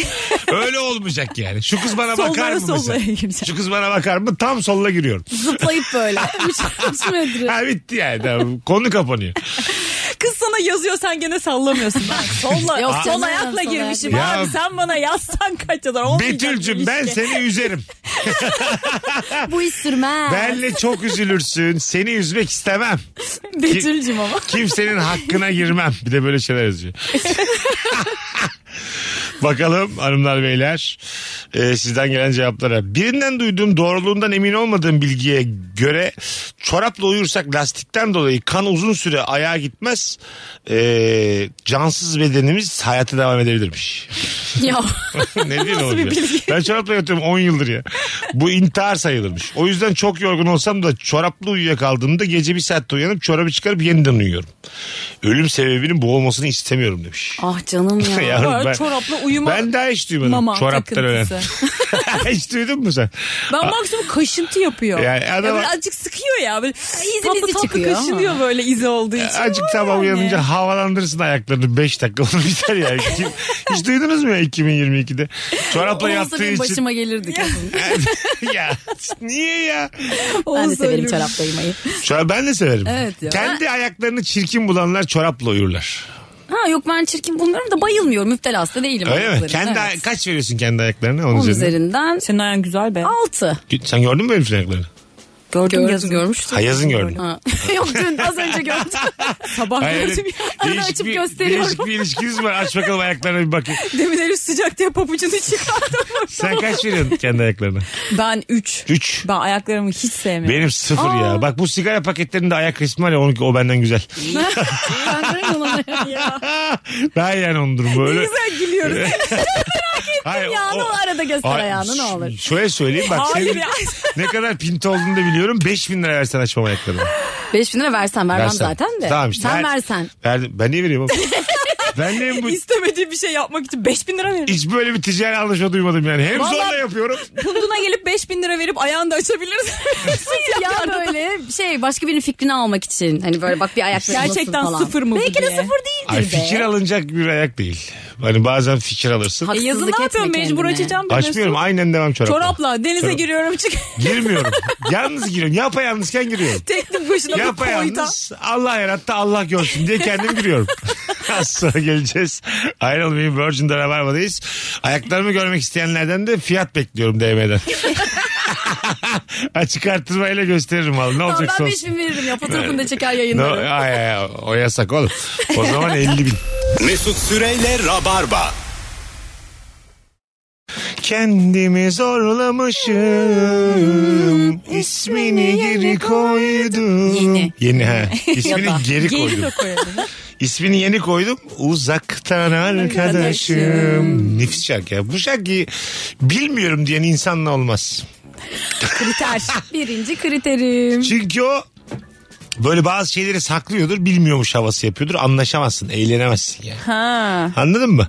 öyle olmayacak yani. Şu kız bana bakar Sollara mı sollara mesela? girecek. Şu kız bana bakar mı? Tam solla giriyorum. Zıplayıp böyle. Üç, üç metre. Ha bitti yani. Tamam. Konu kapanıyor. Kız sana yazıyor sen gene sallamıyorsun. Ben solla, Yok sol canım, ayakla sol girmişim ayak. Ya- abi sen bana yazsan kaçalar olmayacak. Betül'cüm bir şey. ben ilişki. seni üzerim. Bu iş sürmez. Benle çok üzülürsün. Seni üzmek istemem. Betül'cüm ama. Kimsenin hakkına girmem. Bir de böyle şeyler yazıyor. Bakalım hanımlar beyler e, sizden gelen cevaplara. Birinden duyduğum doğruluğundan emin olmadığım bilgiye göre çorapla uyursak lastikten dolayı kan uzun süre ayağa gitmez. E, cansız bedenimiz hayata devam edebilirmiş. Ya. ne diyeyim oğlum ya? Ben çorapla yatıyorum 10 yıldır ya. Bu intihar sayılırmış. O yüzden çok yorgun olsam da çoraplı uyuyakaldığımda gece bir saatte uyanıp çorabı çıkarıp yeniden uyuyorum. Ölüm sebebinin bu olmasını istemiyorum demiş. Ah canım ya. Yavrum Var, çorapla uyuma. Ben daha hiç duymadım mama çoraptan ölen. takıntısı. hiç duydun mu sen? Ben maksimum kaşıntı yapıyor. Yani Ya adam- böyle azıcık sıkıyor ya. Böyle izi tatlı mizi tatlı çıkıyor. kaşınıyor böyle izi olduğu için. Acık Var tamam yani. uyanınca havalandırırsın ayaklarını 5 dakika olur biter ya. Kim- hiç duydunuz mu ya 2022'de? Çorapla Olsa yattığı benim için. başıma gelirdi kesin. ya niye ya? ben de Olsa severim ölürüm. çorap dayımayı. Çorap ben de severim. Evet ya. Kendi ayaklarını çirkin bulanlar çorapla uyurlar. Ha yok ben çirkin bulmuyorum da bayılmıyorum. Müptelası da değilim. Öyle mi? ayaklarım. Kendi ay- evet. kaç veriyorsun kendi ayaklarına? Onun Onun üzerine. üzerinden Senin ayağın güzel be. 6. Sen gördün mü benim filan ayaklarını? Gördüm, Gördüm. yazı görmüştüm. Ha yazın gördün. Ha. Yok dün az önce gördüm. Sabah Hayır, gördüm ya. Arada değişik açıp bir- gösteriyorum. Değişik bir ilişkiniz var. Aç bakalım ayaklarına bir bakayım. Demin herif sıcak diye pabucunu çıkardım. Sen kaç veriyorsun kendi ayaklarına? ben 3. Üç. Ben ayaklarımı hiç sevmiyorum. Benim sıfır ya. Bak bu sigara paketlerinde ayak resmi var ya onunki, o benden güzel. Ben görüyorum onu. Daha yani onun durumu Ne öyle. güzel gülüyoruz. Hayır, Ya ne o arada göster Ay, ayağını ne olur. ş- Şöyle söyleyeyim bak Hayır senin ya. ne kadar pinti olduğunu da biliyorum. 5000 lira versen açmam ayaklarımı. 5000 lira versen vermem Versen. zaten de. Tamam işte. Ver- Sen versen. Verdim. Ben niye vereyim oğlum? ben niye bu... İstemediğim bir şey yapmak için 5000 lira veririm. Hiç böyle bir ticari anlaşma duymadım yani. Hem Vallahi- zorla yapıyorum. Punduna gelip 5000 lira verip ayağını da açabilirsin. Hayır Ya böyle şey başka birinin fikrini almak için. Hani böyle bak bir ayakları Gerçekten falan. sıfır mı bu Belki de diye? sıfır değildir Ay be. fikir alınacak bir ayak değil. Hani bazen fikir alırsın. Haksızlık Yazın E, ne yapıyorsun etme mecbur kendine. açacağım. bir Açmıyorum Mesut. aynen devam çorapla. Çorapla denize Çorap. giriyorum çık. Girmiyorum. Yalnız giriyorum. Yapayalnızken giriyorum. Teknik başına bir koyta. Yapayalnız Allah yarattı Allah görsün diye kendim giriyorum. Az sonra geleceğiz. Ayrılmayın Virgin'de Rabarba'dayız. Ayaklarımı görmek isteyenlerden de fiyat bekliyorum DM'den. Açık artırmayla gösteririm abi. Ne Tamam, olacak ben 5000 veririm ya fotoğrafını da çeker yayınlarım. ay, ay, o yasak oğlum. O zaman 50 bin. Mesut Süreyle Rabarba. Kendimi zorlamışım. İsmini geri koydum. Yeni. Yeni ha. İsmini geri Geri koydum. de koyarım. İsmini yeni koydum. Uzaktan arkadaşım. Nefis şarkı ya. Bu şarkıyı bilmiyorum diyen insanla olmaz. Kriter. Birinci kriterim. Çünkü o böyle bazı şeyleri saklıyordur. Bilmiyormuş havası yapıyordur. Anlaşamazsın. Eğlenemezsin yani. Ha. Anladın mı?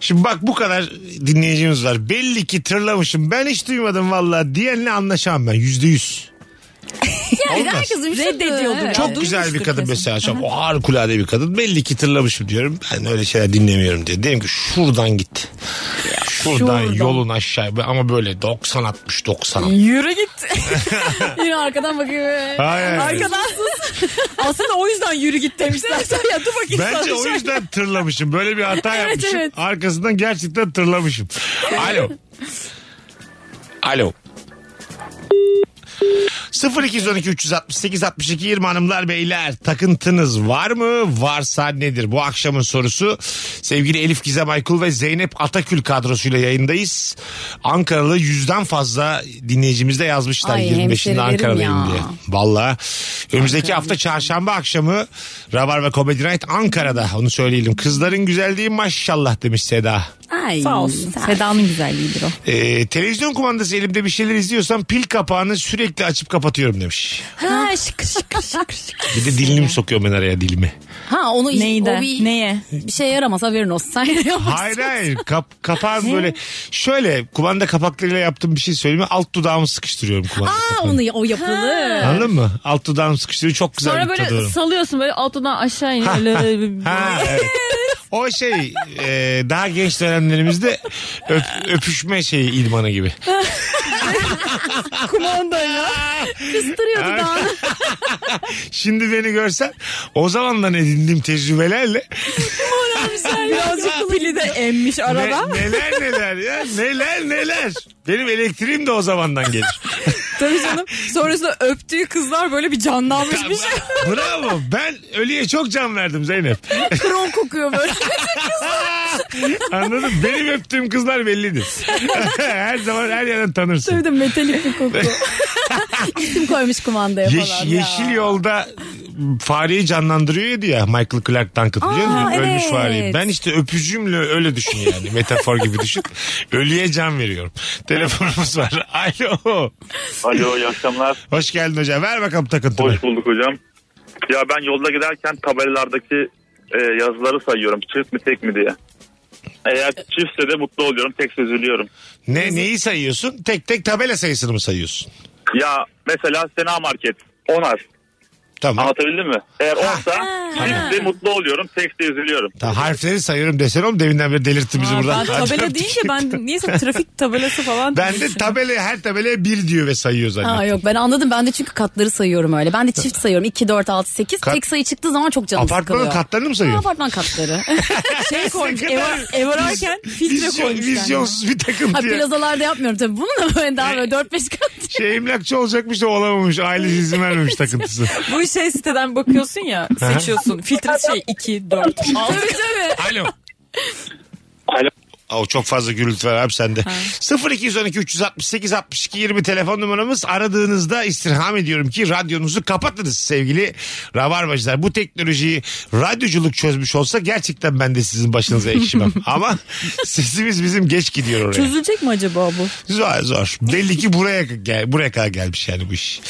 Şimdi bak bu kadar dinleyicimiz var. Belli ki tırlamışım. Ben hiç duymadım valla diyenle anlaşamam ben. Yüzde yüz. Bir de Olmaz. herkesin bir şey Reddediyordur Evet. ya. Çok güzel bir duymuştur kadın kesin. mesela. Çok o harikulade bir kadın. Belli ki tırlamışım diyorum. Ben öyle şeyler dinlemiyorum diye. Dedim ki şuradan git. Şuradan, yolun aşağı ama böyle 90 60 90. Yürü git. Yine arkadan bakıyor. Hayır. Arkadan sus. Aslında o yüzden yürü git demişler. Sen ya dur bakayım. Bence sana o şey- yüzden tırlamışım. Böyle bir hata Evet, yapmışım. evet. Arkasından gerçekten tırlamışım. Alo. Alo. 0212 368 62 20 hanımlar beyler takıntınız var mı? Varsa nedir? Bu akşamın sorusu sevgili Elif Gizem Aykul ve Zeynep Atakül kadrosuyla yayındayız. Ankaralı yüzden fazla dinleyicimiz de yazmışlar Ay, 25'inde hemşerilerim Ankara'dayım ya. diye. Valla önümüzdeki hafta çarşamba akşamı Rabarba Comedy Night Ankara'da onu söyleyelim. Kızların güzelliği maşallah demiş Seda. Ay, Sağ olsun. sağ- Seda'nın güzelliğidir o. Ee, televizyon kumandası elimde bir şeyler izliyorsam pil kapağını sürekli açıp kapatıyorum demiş. Ha şık şık şık şık. Bir de dilimi sokuyorum ben araya dilimi. Ha onu Neydi? o bir, Neye? bir şey yaramaz haberin olsun. Sen Hayır hayır kap, kapağın böyle şöyle kumanda kapaklarıyla yaptığım bir şey söyleyeyim mi? Alt dudağımı sıkıştırıyorum kumanda Aa kapağını. onu o yapılır. Anladın mı? Alt dudağımı sıkıştırıyorum çok güzel Sonra bir böyle tadı var. salıyorsun böyle altından aşağı iniyor. Ha evet. O şey e, daha genç dönemlerimizde öp- öpüşme şeyi ilmanı gibi. Kumanda ya. Kıstırıyordu Ay. daha. Şimdi beni görsen o zamandan edindiğim tecrübelerle Birazcık pili de emmiş ne- arada. neler neler ya neler neler. Benim elektriğim de o zamandan gelir. Tabii canım. Sonrasında öptüğü kızlar böyle bir canlanmış bir şey. Bravo ben ölüye çok can verdim Zeynep. Kron kokuyor böyle. Anladın mı? Benim öptüğüm kızlar bellidir. her zaman her yerden tanırsın. Tabii de metalik bir koku. İsim koymuş kumandaya Yeş- falan. ya. yeşil yolda fareyi canlandırıyordu ya Michael Clark Duncan biliyor musun? Aa, Ölmüş evet. fareyi. Ben işte öpücüğümle öyle düşün yani. Metafor gibi düşün. Ölüye can veriyorum. Telefonumuz var. Alo. Alo iyi akşamlar. Hoş geldin hocam. Ver bakalım takıntını. Hoş bulduk hocam. Ya ben yolda giderken tabelalardaki e, yazıları sayıyorum. Çift mi tek mi diye. Eğer çiftse de mutlu oluyorum. Tek üzülüyorum. Ne, neyi sayıyorsun? Tek tek tabela sayısını mı sayıyorsun? Ya mesela Sena Market 10 ar. Tamam. Anlatabildim mi? Eğer 10'sa çiftse mutlu oluyorum. Tekse üzülüyorum. Tamam, harfleri sayıyorum desene oğlum devinden beri delirttin bizi Aa, buradan. ben tabela deyince ben niyeyse trafik tabelası falan. Ben de tabela her tabelaya bir diyor ve sayıyor zannettim. Ha yok ben anladım. Ben de çünkü katları sayıyorum öyle. Ben de çift sayıyorum. 2, 4, 6, 8. Kat- Tek sayı çıktığı zaman çok canım Apartmanın sıkılıyor. katlarını mı Ha, sayıyorsun? apartman katları. şey koymuş. Ev, ev ararken filtre Vizyon- koymuş. yani. Vizyonsuz bir takım Ha, diye. plazalarda yapmıyorum tabii. Bunu da böyle daha böyle 4-5 kat. Şey emlakçı olacakmış da olamamış. Ailesi izin vermemiş takıntısı. Bu şey siteden bakıyorsun ya seçiyorsun. Filtre şey 2, 4, 6. tabii tabii. Alo. Alo. Oo, çok fazla gürültü var abi sende. 0212 368 62 20 telefon numaramız. Aradığınızda istirham ediyorum ki radyonuzu kapatınız sevgili rabarbacılar. Bu teknolojiyi radyoculuk çözmüş olsa gerçekten ben de sizin başınıza ekşimem. Ama sesimiz bizim geç gidiyor oraya. Çözülecek mi acaba bu? Zor zor. Belli ki buraya gel, buraya kadar gelmiş yani bu iş.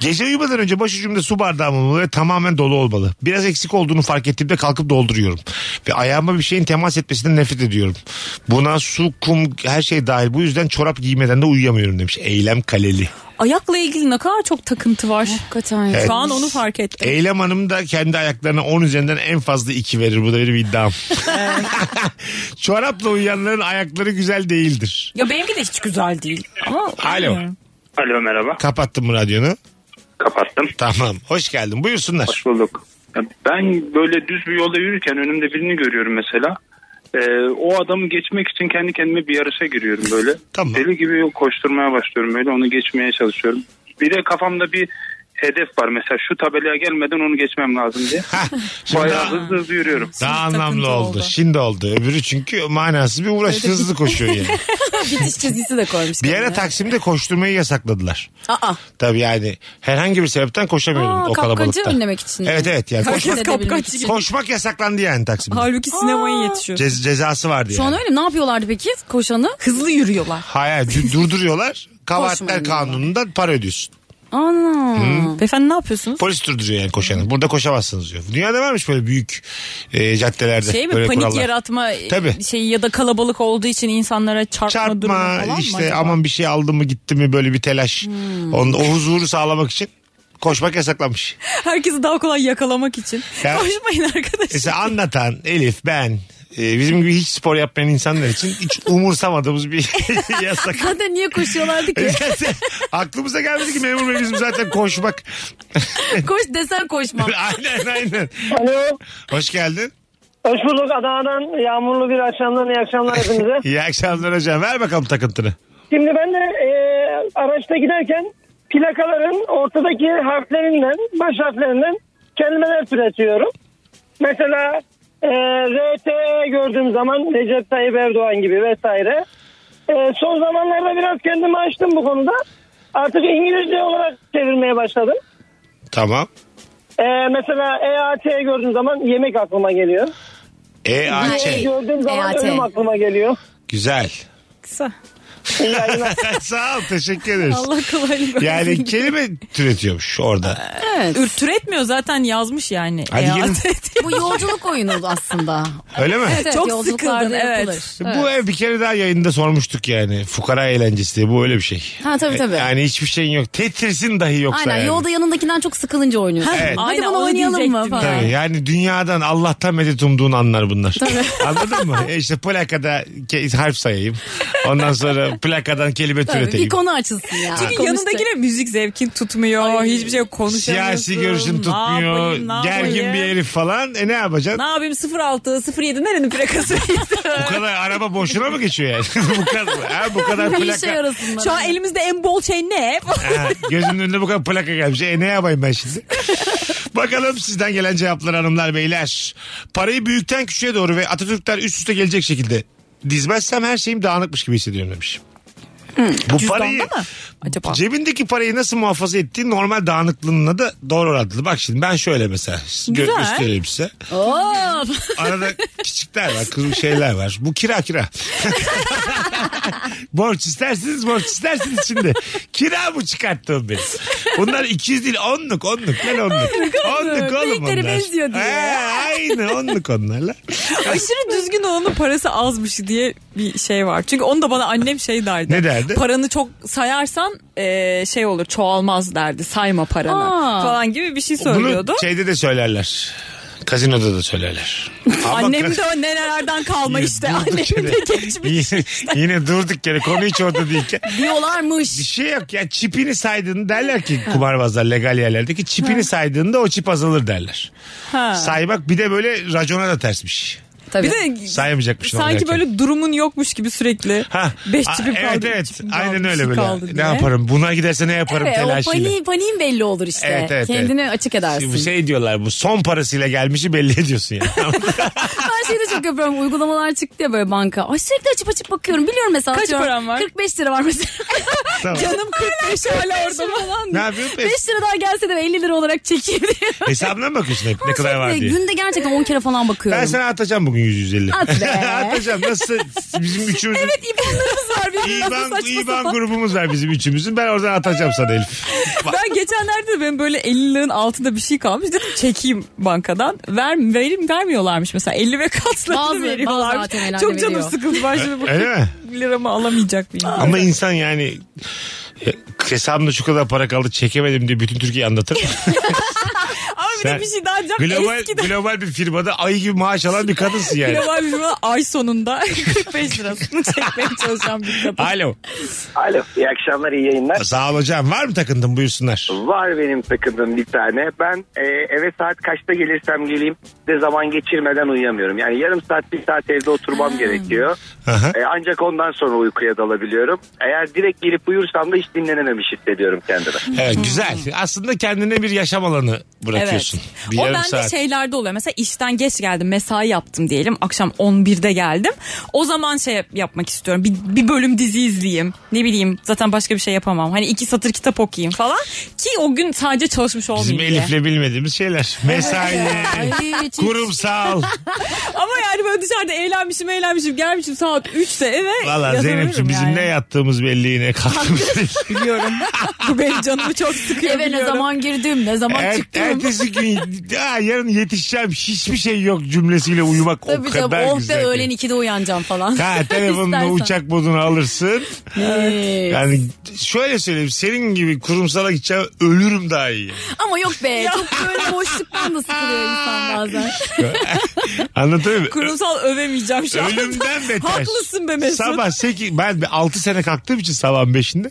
Gece uyumadan önce başucumda su bardağım olmalı ve tamamen dolu olmalı. Biraz eksik olduğunu fark ettiğimde kalkıp dolduruyorum. Ve ayağıma bir şeyin temas etmesinden nefret ediyorum. Buna su, kum her şey dahil. Bu yüzden çorap giymeden de uyuyamıyorum demiş. Eylem Kaleli. Ayakla ilgili ne kadar çok takıntı var. Hakikaten. ya. Şu an onu fark ettim. Eylem Hanım da kendi ayaklarına 10 üzerinden en fazla 2 verir. Bu da benim iddiam. Çorapla uyuyanların ayakları güzel değildir. Ya benimki de hiç güzel değil. Ama Alo. Alo merhaba. Kapattım mı radyonu? Kapattım. Tamam. Hoş geldin. Buyursunlar. Hoş bulduk. Ya Ben böyle düz bir yolda yürürken önümde birini görüyorum mesela. Ee, o adamı geçmek için kendi kendime bir yarışa giriyorum böyle. Tamam. Deli gibi yol koşturmaya başlıyorum böyle onu geçmeye çalışıyorum. Bir de kafamda bir hedef var mesela şu tabelaya gelmeden onu geçmem lazım diye. Hah, şimdi Bayağı daha- hızlı hızlı yürüyorum. Daha takıntı anlamlı oldu. oldu. Şimdi oldu. Öbürü çünkü manasız bir uğraş hızlı koşuyor yani. Bitiş çizgisi de koymuş. Bir ara kendine. Taksim'de koşturmayı yasakladılar. Aa, Tabii yani herhangi bir sebepten koşamıyordum Aa, o kapkaca kalabalıkta. önlemek için. Evet evet yani Herkes koşmak, herkes edebilmek kapkaç için. gibi. koşmak yasaklandı yani Taksim'de. Halbuki sinemaya yetişiyor. Cez- cezası vardı Şu an yani. öyle mi? Ne yapıyorlardı peki koşanı? Hızlı yürüyorlar. Hayır dü- durduruyorlar. Kavahatler Koşmayın kanunundan para ödüyorsun. Ana. Beyefendi ne yapıyorsunuz? Polis durduruyor yani koşanı. Burada koşamazsınız diyor. Dünyada varmış böyle büyük e, caddelerde. Şey mi böyle panik kurallar. yaratma Tabii. şeyi ya da kalabalık olduğu için insanlara çarpma, durumu çarpma falan mı işte acaba? Hmm. aman bir şey aldı mı gitti mi böyle bir telaş. Onun, o huzuru sağlamak için koşmak yasaklanmış. Herkesi daha kolay yakalamak için. Ya- E, Koşmayın arkadaşlar. Mesela anlatan Elif ben e, bizim gibi hiç spor yapmayan insanlar için hiç umursamadığımız bir yasak. Zaten niye koşuyorlardı ki? Zaten aklımıza gelmedi ki memur bey bizim zaten koşmak. Koş desen koşmam. aynen aynen. Alo. Hoş geldin. Hoş bulduk Adana'dan yağmurlu bir akşamdan iyi akşamlar hepinize. İyi akşamlar hocam. Ver bakalım takıntını. Şimdi ben de e, araçta giderken plakaların ortadaki harflerinden, baş harflerinden kelimeler türetiyorum. Mesela e, RT gördüğüm zaman Recep Tayyip Erdoğan gibi vesaire. E, son zamanlarda biraz kendimi açtım bu konuda. Artık İngilizce olarak çevirmeye başladım. Tamam. E, mesela EAT gördüğüm zaman yemek aklıma geliyor. E, A, Ç. Videoyu gördüğüm zaman EAT. ölüm aklıma geliyor. Güzel. Kısa. İyi yayınlar. Sağ ol teşekkür ederiz. Allah kolaylık versin. Yani kelime türetiyormuş orada. Ür- Türetmiyor zaten yazmış yani. Hadi Eyalet gelin. ediyor. Bu yolculuk oyunu aslında. Öyle mi? Evet, Çok yolculuklarda sıkıldım, evet. yapılır. Bu ev bir kere daha yayında sormuştuk yani. Fukara eğlencesi diye bu öyle bir şey. Ha, tabii, tabii. Yani hiçbir şeyin yok. Tetris'in dahi yoksa Aynen yani. yolda yanındakinden çok sıkılınca oynuyorsun. Evet. Hadi Aynen, bunu onu oynayalım mı diyecektim. falan. Tabii yani dünyadan Allah'tan medet umduğun anlar bunlar. Anladın mı? E işte plakada ke- harf sayayım. Ondan sonra plakadan kelime Tabii, türeteyim. bir konu açılsın ya. Çünkü Konuşacak. yanındakine müzik zevkin tutmuyor. Hiçbir şey konuşamıyorsun. Siyasi görüşün Ne tutmuyor. yapayım, ne gergin yapayım? bir herif falan. E ne yapacaksın? Ne yapayım 06 07 nerenin plakası? Bu kadar araba boşuna mı geçiyor yani? bu kadar, ha, bu kadar Ne işe plaka. yarasın şey bana? şey Şu an elimizde en bol şey ne? Ha, gözümün önünde bu kadar plaka gelmiş. E ne yapayım ben şimdi? Bakalım sizden gelen cevaplar hanımlar beyler. Parayı büyükten küçüğe doğru ve Atatürk'ten üst üste gelecek şekilde dizmezsem her şeyim dağınıkmış gibi hissediyorum demiş. Bu Cüzdanda parayı Hmm, mı acaba? Cebindeki parayı nasıl muhafaza ettiğin normal dağınıklığına da doğru orantılı. Bak şimdi ben şöyle mesela gö- Güzel. göstereyim size. Oo, Arada küçükler var, kızıl şeyler var. Bu kira kira. borç istersiniz, borç istersiniz şimdi. Kira bu çıkarttığım benim. Bunlar ikiz değil, onluk, onluk. Ben onluk. onluk oğlum onlar. Büyükleri benziyor diyor. Ee, aynı onluk onlarla. Aşırı düzgün olanın parası azmış diye bir şey var. Çünkü onu da bana annem şey derdi. Ne derdi? Paranı çok sayarsan eee, şey olur çoğalmaz derdi. Sayma paranı Aa. falan gibi bir şey Bunu söylüyordu. şeyde de söylerler. Kazinoda da söylerler. Ama Annem kaz- de o nelerden kalma Yine işte. durduk Annemin yere- de geçmiş. yine, yine durduk yere konu hiç orada değilken. Bir diyorlarmış. şey yok ya çipini saydığını derler ki kumarbazlar legal yerlerdeki çipini saydığında o çip azalır derler. Saymak bir de böyle racona da tersmiş. Tabii. Bir de Saymayacakmış. sanki böyle durumun yokmuş gibi sürekli. şey Ha. Beş a- çipi evet kaldı. üç evet çipim kaldı, aynen bir öyle şey böyle. kaldı Ne diye. yaparım buna giderse ne yaparım Evet, o telaşıyla. paniğin, paniğin belli olur işte. Evet, evet, Kendini evet. açık edersin. Şimdi şey diyorlar bu son parasıyla gelmişi belli ediyorsun yani. Ben şeyi de çok yapıyorum. Uygulamalar çıktı ya böyle banka. Ay şey- sürekli açıp açıp bakıyorum. Biliyorum mesela. Kaç atıyorum, param var? 45 lira var mesela. tamam. Canım 45 hala orada mı? ne yapıyorsun? 5 lira daha gelse de 50 lira olarak çekeyim diye. Hesabına mı bakıyorsun hep ne kadar var Sürekli diye? Günde gerçekten 10 kere falan bakıyorum. Ben sana atacağım bugün 150. At be. atacağım. Nasıl bizim üçümüzün Evet ibanlarımız var birbirimize İban, saçma İban sapan. grubumuz var bizim üçümüzün. Ben oradan atacağım sana Elif. Ben geçenlerde de benim böyle 50 liranın altında bir şey kalmış. Dedim çekeyim bankadan. Ver, verim, vermiyorlarmış mesela. 50 ve Bazı- katlarını bazı veriyorlarmış. ATM'lerde Çok canım veriyor. sıkıldı. Ben şimdi bu Öyle mi? 40 liramı alamayacak mıyım? Ama insan yani e, hesabımda şu kadar para kaldı çekemedim diye bütün Türkiye'yi anlatır mı? Ama bir sen de bir şey daha diyeceğim. global, Eskiden global bir firmada ay gibi maaş alan bir kadınsın yani. global bir firma ay sonunda 45 lirasını çekmeye çalışan bir kadın. Alo. Alo iyi akşamlar iyi yayınlar. Sağ ol hocam. Var mı takındın buyursunlar. Var benim takıldığım bir tane. Ben e, eve saat kaçta gelirsem geleyim de zaman geçirmeden uyuyamıyorum. Yani yarım saat bir saat evde oturmam gerekiyor. Aha. E, ancak ondan sonra uykuya dalabiliyorum. Eğer direkt gelip uyursam da hiç dinlenememiş hissediyorum kendimi. Evet, güzel. Aslında kendine bir yaşam alanı bırakıyorsun. Bir o yarım bende şey saat. şeylerde oluyor. Mesela işten geç geldim. Mesai yaptım diyelim. Akşam 11'de geldim. O zaman şey yap- yapmak istiyorum. Bir, bir bölüm dizi izleyeyim. Ne bileyim. Zaten başka bir şey yapamam. Hani iki satır kitap okuyayım falan. Ki o gün sadece çalışmış olmayayım Bizim diye. Elif'le bilmediğimiz şeyler. Mesai, Ay, çünkü- kurumsal. Ama yani böyle dışarıda eğlenmişim eğlenmişim. Gelmişim saat 3'te eve. Valla yazılırım Zeynep'ciğim bizim yani. ne yattığımız belli yine kalktığımız belli. Biliyorum. Bu benim canımı çok sıkıyor Eve ne biliyorum. zaman girdim, ne zaman Er- çıktım. ertesi gün "Aa, yarın yetişeceğim hiçbir şey yok cümlesiyle uyumak Tabii o canım kadar oh be güzel. ki. öğlen 2'de uyanacağım falan. Ha telefonunu İstersen. uçak modunu alırsın. Evet. Yani şöyle söyleyeyim senin gibi kurumsala gideceğim ölürüm daha iyi. Ama yok be çok böyle boşluktan da sıkılıyor insan bazen. Anlatabiliyor muyum? Kurumsal övemeyeceğim şu an. Ölümden beter. Haklısın be Mesut. Sabah 8 ben 6 sene kalktığım için sabahın 5'inde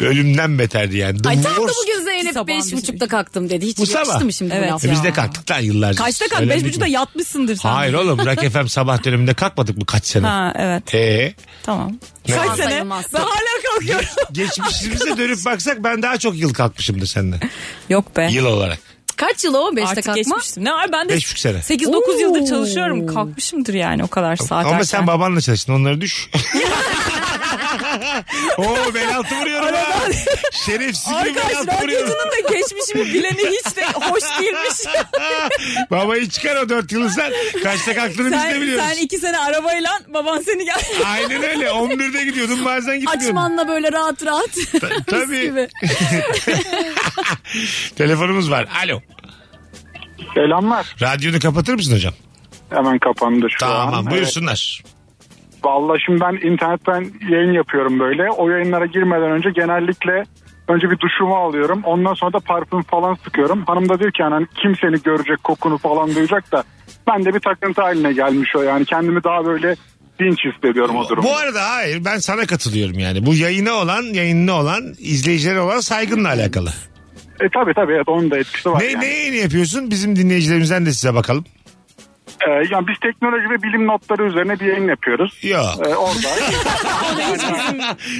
ölümden beterdi yani. The Ay tam da worst- bugün Zeynep Sabah bizim- 5.30'da kalktım dedi. Hiç Bu sabah. yakıştı mı şimdi bu Evet. laf E ya? Biz de kalktık lan yıllarca. Kaçta kalk? Öğlendik Beş buçukta mi? yatmışsındır sen. Hayır oğlum Rock FM sabah döneminde kalkmadık mı kaç sene? Ha evet. Ee, Tamam. Ne? Kaç Tamam, sene? sayılmaz. Ben hala kalkıyorum. geçmişimize dönüp baksak ben daha çok yıl kalkmışımdır senden. Yok be. Yıl olarak. Kaç yıl o 5'te Artık kalkma? geçmiştim. Ne var ben de Beş buçuk sene. 8-9 Oo. yıldır çalışıyorum. Kalkmışımdır yani o kadar saat Ama erken. sen babanla çalıştın onları düş. Oo ben altı vuruyorum ha. Aradan- Şerefsiz gibi ben Arkadaş altı vuruyorum. radyocunun da geçmişimi bileni hiç de hoş değilmiş. Babayı çıkar o dört yılı sen. Kaçta kalktığını biz de sen, biliyoruz. sen iki sene arabayla baban seni gel. Aynen öyle. 11'de gidiyordun bazen gitmiyordun. Açmanla böyle rahat rahat. Tabii. Telefonumuz var. Alo. Selamlar. Radyonu kapatır mısın hocam? Hemen kapandı şu an. Tamam Evet. buyursunlar. Vallahi şimdi ben internetten yayın yapıyorum böyle. O yayınlara girmeden önce genellikle önce bir duşumu alıyorum. Ondan sonra da parfüm falan sıkıyorum. Hanım da diyor ki yani hani kim seni görecek kokunu falan duyacak da ben de bir takıntı haline gelmiş o yani. Kendimi daha böyle dinç hissediyorum o durumda. Bu arada hayır ben sana katılıyorum yani. Bu yayına olan, yayınına olan, izleyicilere olan saygınla alakalı. E tabi tabi evet onun da etkisi var Ne, yani. ne yayını yapıyorsun? Bizim dinleyicilerimizden de size bakalım. E, yani biz teknoloji ve bilim notları üzerine bir yayın yapıyoruz. Yok. E, orada.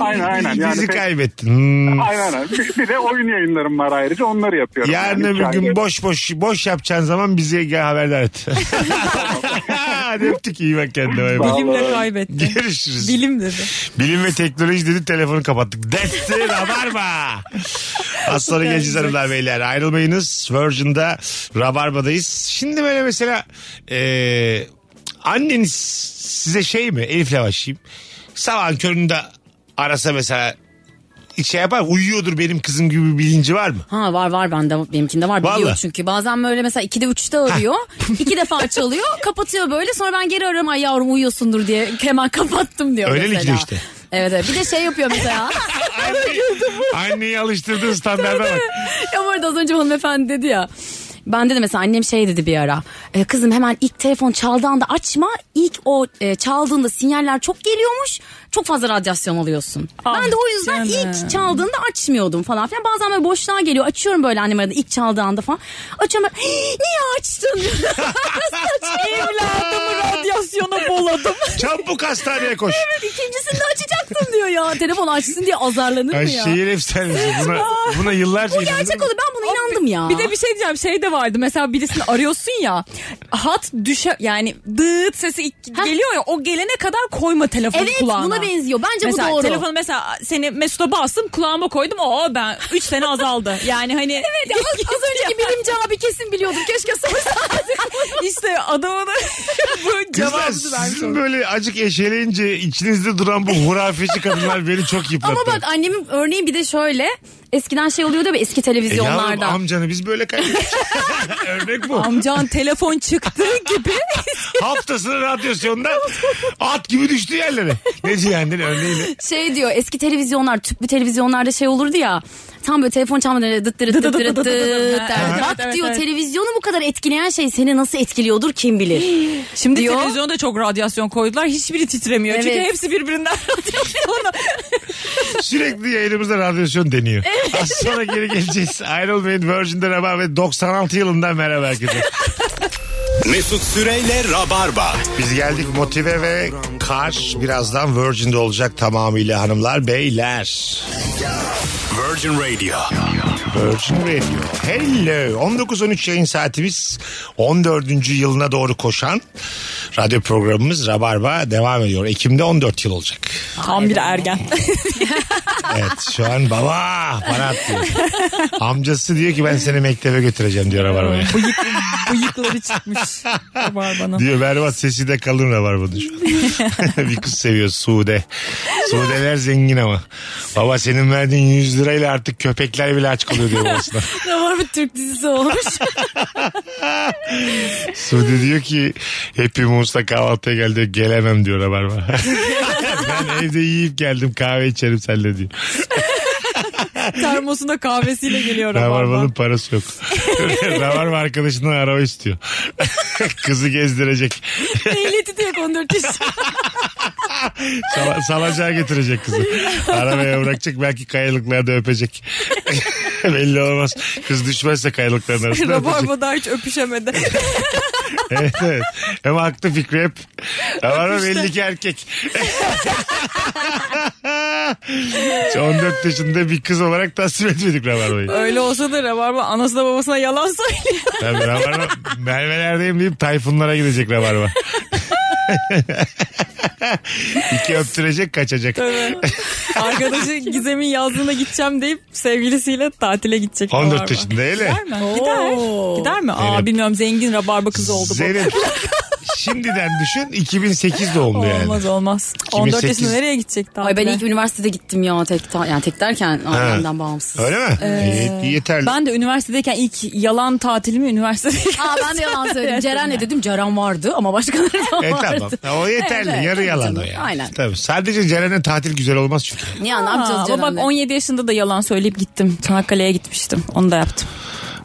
aynen aynen. Yani Bizi tek- kaybettin. Hmm. Aynen aynen. Bir, bir de oyun yayınlarım var ayrıca onları yapıyorum. Yarın Yani öbür gün hikaye- boş boş boş yapacağın zaman bizi gel haberdar et. Hadi öptük iyi bak kendine. bay bay. Bilimle kaybetti. Görüşürüz. Bilim dedi. Bilim ve teknoloji dedi telefonu kapattık. Dersi Rabarba. Az sonra geleceğiz hanımlar beyler. Ayrılmayınız. Virgin'da Rabarba'dayız. Şimdi böyle mesela e, anneniz size şey mi Elif'le başlayayım. Sabahın köründe arasa mesela şey yapar uyuyordur benim kızım gibi bir bilinci var mı? Ha var var bende benimkinde var biliyor Vallahi. çünkü bazen böyle mesela 2'de 3'te arıyor iki defa çalıyor kapatıyor böyle sonra ben geri arıyorum ay yavrum uyuyorsundur diye hemen kapattım diyor Öyle mi mesela. gidiyor işte? Evet evet bir de şey yapıyor mesela Anneyi alıştırdığın standarda bak. ya bu arada az önce hanımefendi dedi ya. Ben de mesela annem şey dedi bir ara. "E, kızım hemen ilk telefon çaldığı anda açma. İlk o e, çaldığında sinyaller çok geliyormuş. Çok fazla radyasyon alıyorsun. Ah ben de o yüzden ilk çaldığında açmıyordum falan filan. Bazen böyle boşluğa geliyor. Açıyorum böyle annem arada ilk çaldığı anda falan. Açıyorum böyle, "Hii, niye açtın? Evladımı radyasyona boladım. Çabuk hastaneye koş. evet ikincisini de açacaksın diyor ya. Telefon açsın diye azarlanır mı Ay, ya? şehir efsanesi. Buna, buna yıllarca Bu gerçek olur ben buna inandım ya. Bir de bir şey diyeceğim şey de vardı mesela birisini arıyorsun ya hat düşe yani dıt sesi ilk geliyor ya o gelene kadar koyma telefonu Evet, kulağına. buna benziyor. Bence bu mesela, doğru. Telefonu mesela seni Mesut'a bastım kulağıma koydum o ben 3 sene azaldı yani hani. Evet ya, az, az önceki bilimci abi kesin biliyordum. Keşke sorsaydım. işte adamın bu Kızlar cevabını vermiş sizin oldum. böyle acık eşeleyince içinizde duran bu hurafeci kadınlar beni çok yıprattı. Ama bak annemin örneği bir de şöyle. Eskiden şey oluyordu ya bu E eski yavrum, televizyonlarda. amcanı biz böyle kaybettik. Örnek bu. Amcan telefon çıktığı gibi Haftasını radyasyonda at gibi düştü yerlere. Ne cihenden örneğiyle. şey diyor eski televizyonlar tüplü televizyonlarda şey olurdu ya. Tam böyle telefon çalmadan dıt dırıt dıt dıt dıt dırıt dıt dıt dıt. der. Evet, Bak evet, diyor evet. televizyonu bu kadar etkileyen şey seni nasıl etkiliyordur kim bilir. Şimdi diyor. televizyonda çok radyasyon koydular. Hiçbiri titremiyor. Çünkü Evet. hepsi birbirinden radyasyonla. Sürekli yayınımızda radyasyon deniyor. Az sonra geri geleceğiz. Ayrılmayın Virgin'de Rabarbe 96 yılından merhaba herkese. Mesut Süreyle Rabarba. Biz geldik motive ve kar birazdan Virgin'de olacak tamamıyla hanımlar beyler. Virgin Radio. Virgin Radio. Hello. 19.13 yayın saatimiz 14. yılına doğru koşan radyo programımız Rabarba devam ediyor. Ekim'de 14 yıl olacak. Tam bir ergen. Evet şu an baba bana atlıyor. Amcası diyor ki ben seni mektebe götüreceğim diyor Rabarba'ya. Bıyık, bıyıkları çıkmış. Var bana. Diyor berbat sesi de kalın Rabarba'nın şu an. Bir kız seviyor Sude. Sudeler zengin ama. Baba senin verdiğin 100 lirayla artık köpekler bile aç kalıyor diyor babasına. ne var bir Türk dizisi olmuş. Sude diyor ki hepimizle kahvaltıya geldi gelemem diyor Rabarba. ben evde yiyip geldim kahve içerim seninle diyor. Termosunda kahvesiyle geliyor. Rabarba'nın parası yok. Rabarba arkadaşından araba istiyor. Kızı gezdirecek. Ehliyeti de yok 14 yaş. Sala, salacağa getirecek kızı. Arabaya bırakacak belki kayalıklarda öpecek. Belli olmaz. Kız düşmezse kayalıkların arasında öpecek. Rabarba daha hiç öpüşemedi. evet, evet. Hem haklı fikri hep. Rabarba Öpüşte. belli ki erkek. 14 yaşında bir kız olarak tasvip etmedik Rabarba'yı. Öyle olsa da Rabarba anasına babasına yalan söylüyor. Tabii Rabarba Merve'lerdeyim deyip Tayfunlara gidecek Rabarba. İki öptürecek kaçacak. Tabii. Arkadaşı Gizem'in yazlığına gideceğim deyip sevgilisiyle tatile gidecek. 14 yaşında hele. Gider mi? Gider. Gider mi? Aa Zeynep. bilmiyorum zengin rabarba kızı oldu bu. Zeynep şimdiden düşün 2008 doğumlu yani. Olmaz olmaz. 14 2008 yaşında nereye gidecek daha? Ay ben ilk üniversitede gittim ya tek ta- yani tek derken ailemden bağımsız. Öyle mi? Ee, Ye- yeterli. Ben de üniversitedeyken ilk yalan tatilimi üniversitede. Aa ben de yalan söyledim. Ceren'le dedim Ceren vardı ama başkaları da E vardı. tamam. O yeterli. Evet, Yarı tabii yalan canım. o yani. Aynen. Tabii. Sadece Ceren'e tatil güzel olmaz çünkü. Ya ne yapacağız Aa, Ceren'le? Bak 17 yaşında da yalan söyleyip gittim. Çanakkale'ye gitmiştim. Onu da yaptım.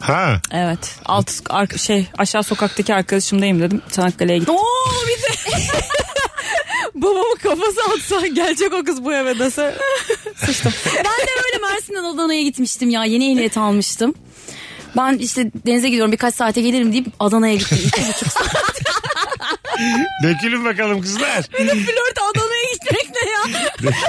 Ha. Evet. Alt ar- şey aşağı sokaktaki arkadaşımdayım dedim. Çanakkale'ye gittim. Oo bir de. Babamı kafası atsa gelecek o kız bu eve dese. ben de öyle Mersin'den Adana'ya gitmiştim ya. Yeni ehliyet almıştım. Ben işte denize gidiyorum birkaç saate gelirim deyip Adana'ya gittim. İki buçuk saat. Dökülün bakalım kızlar. flört Adana'ya gitmek ne ya?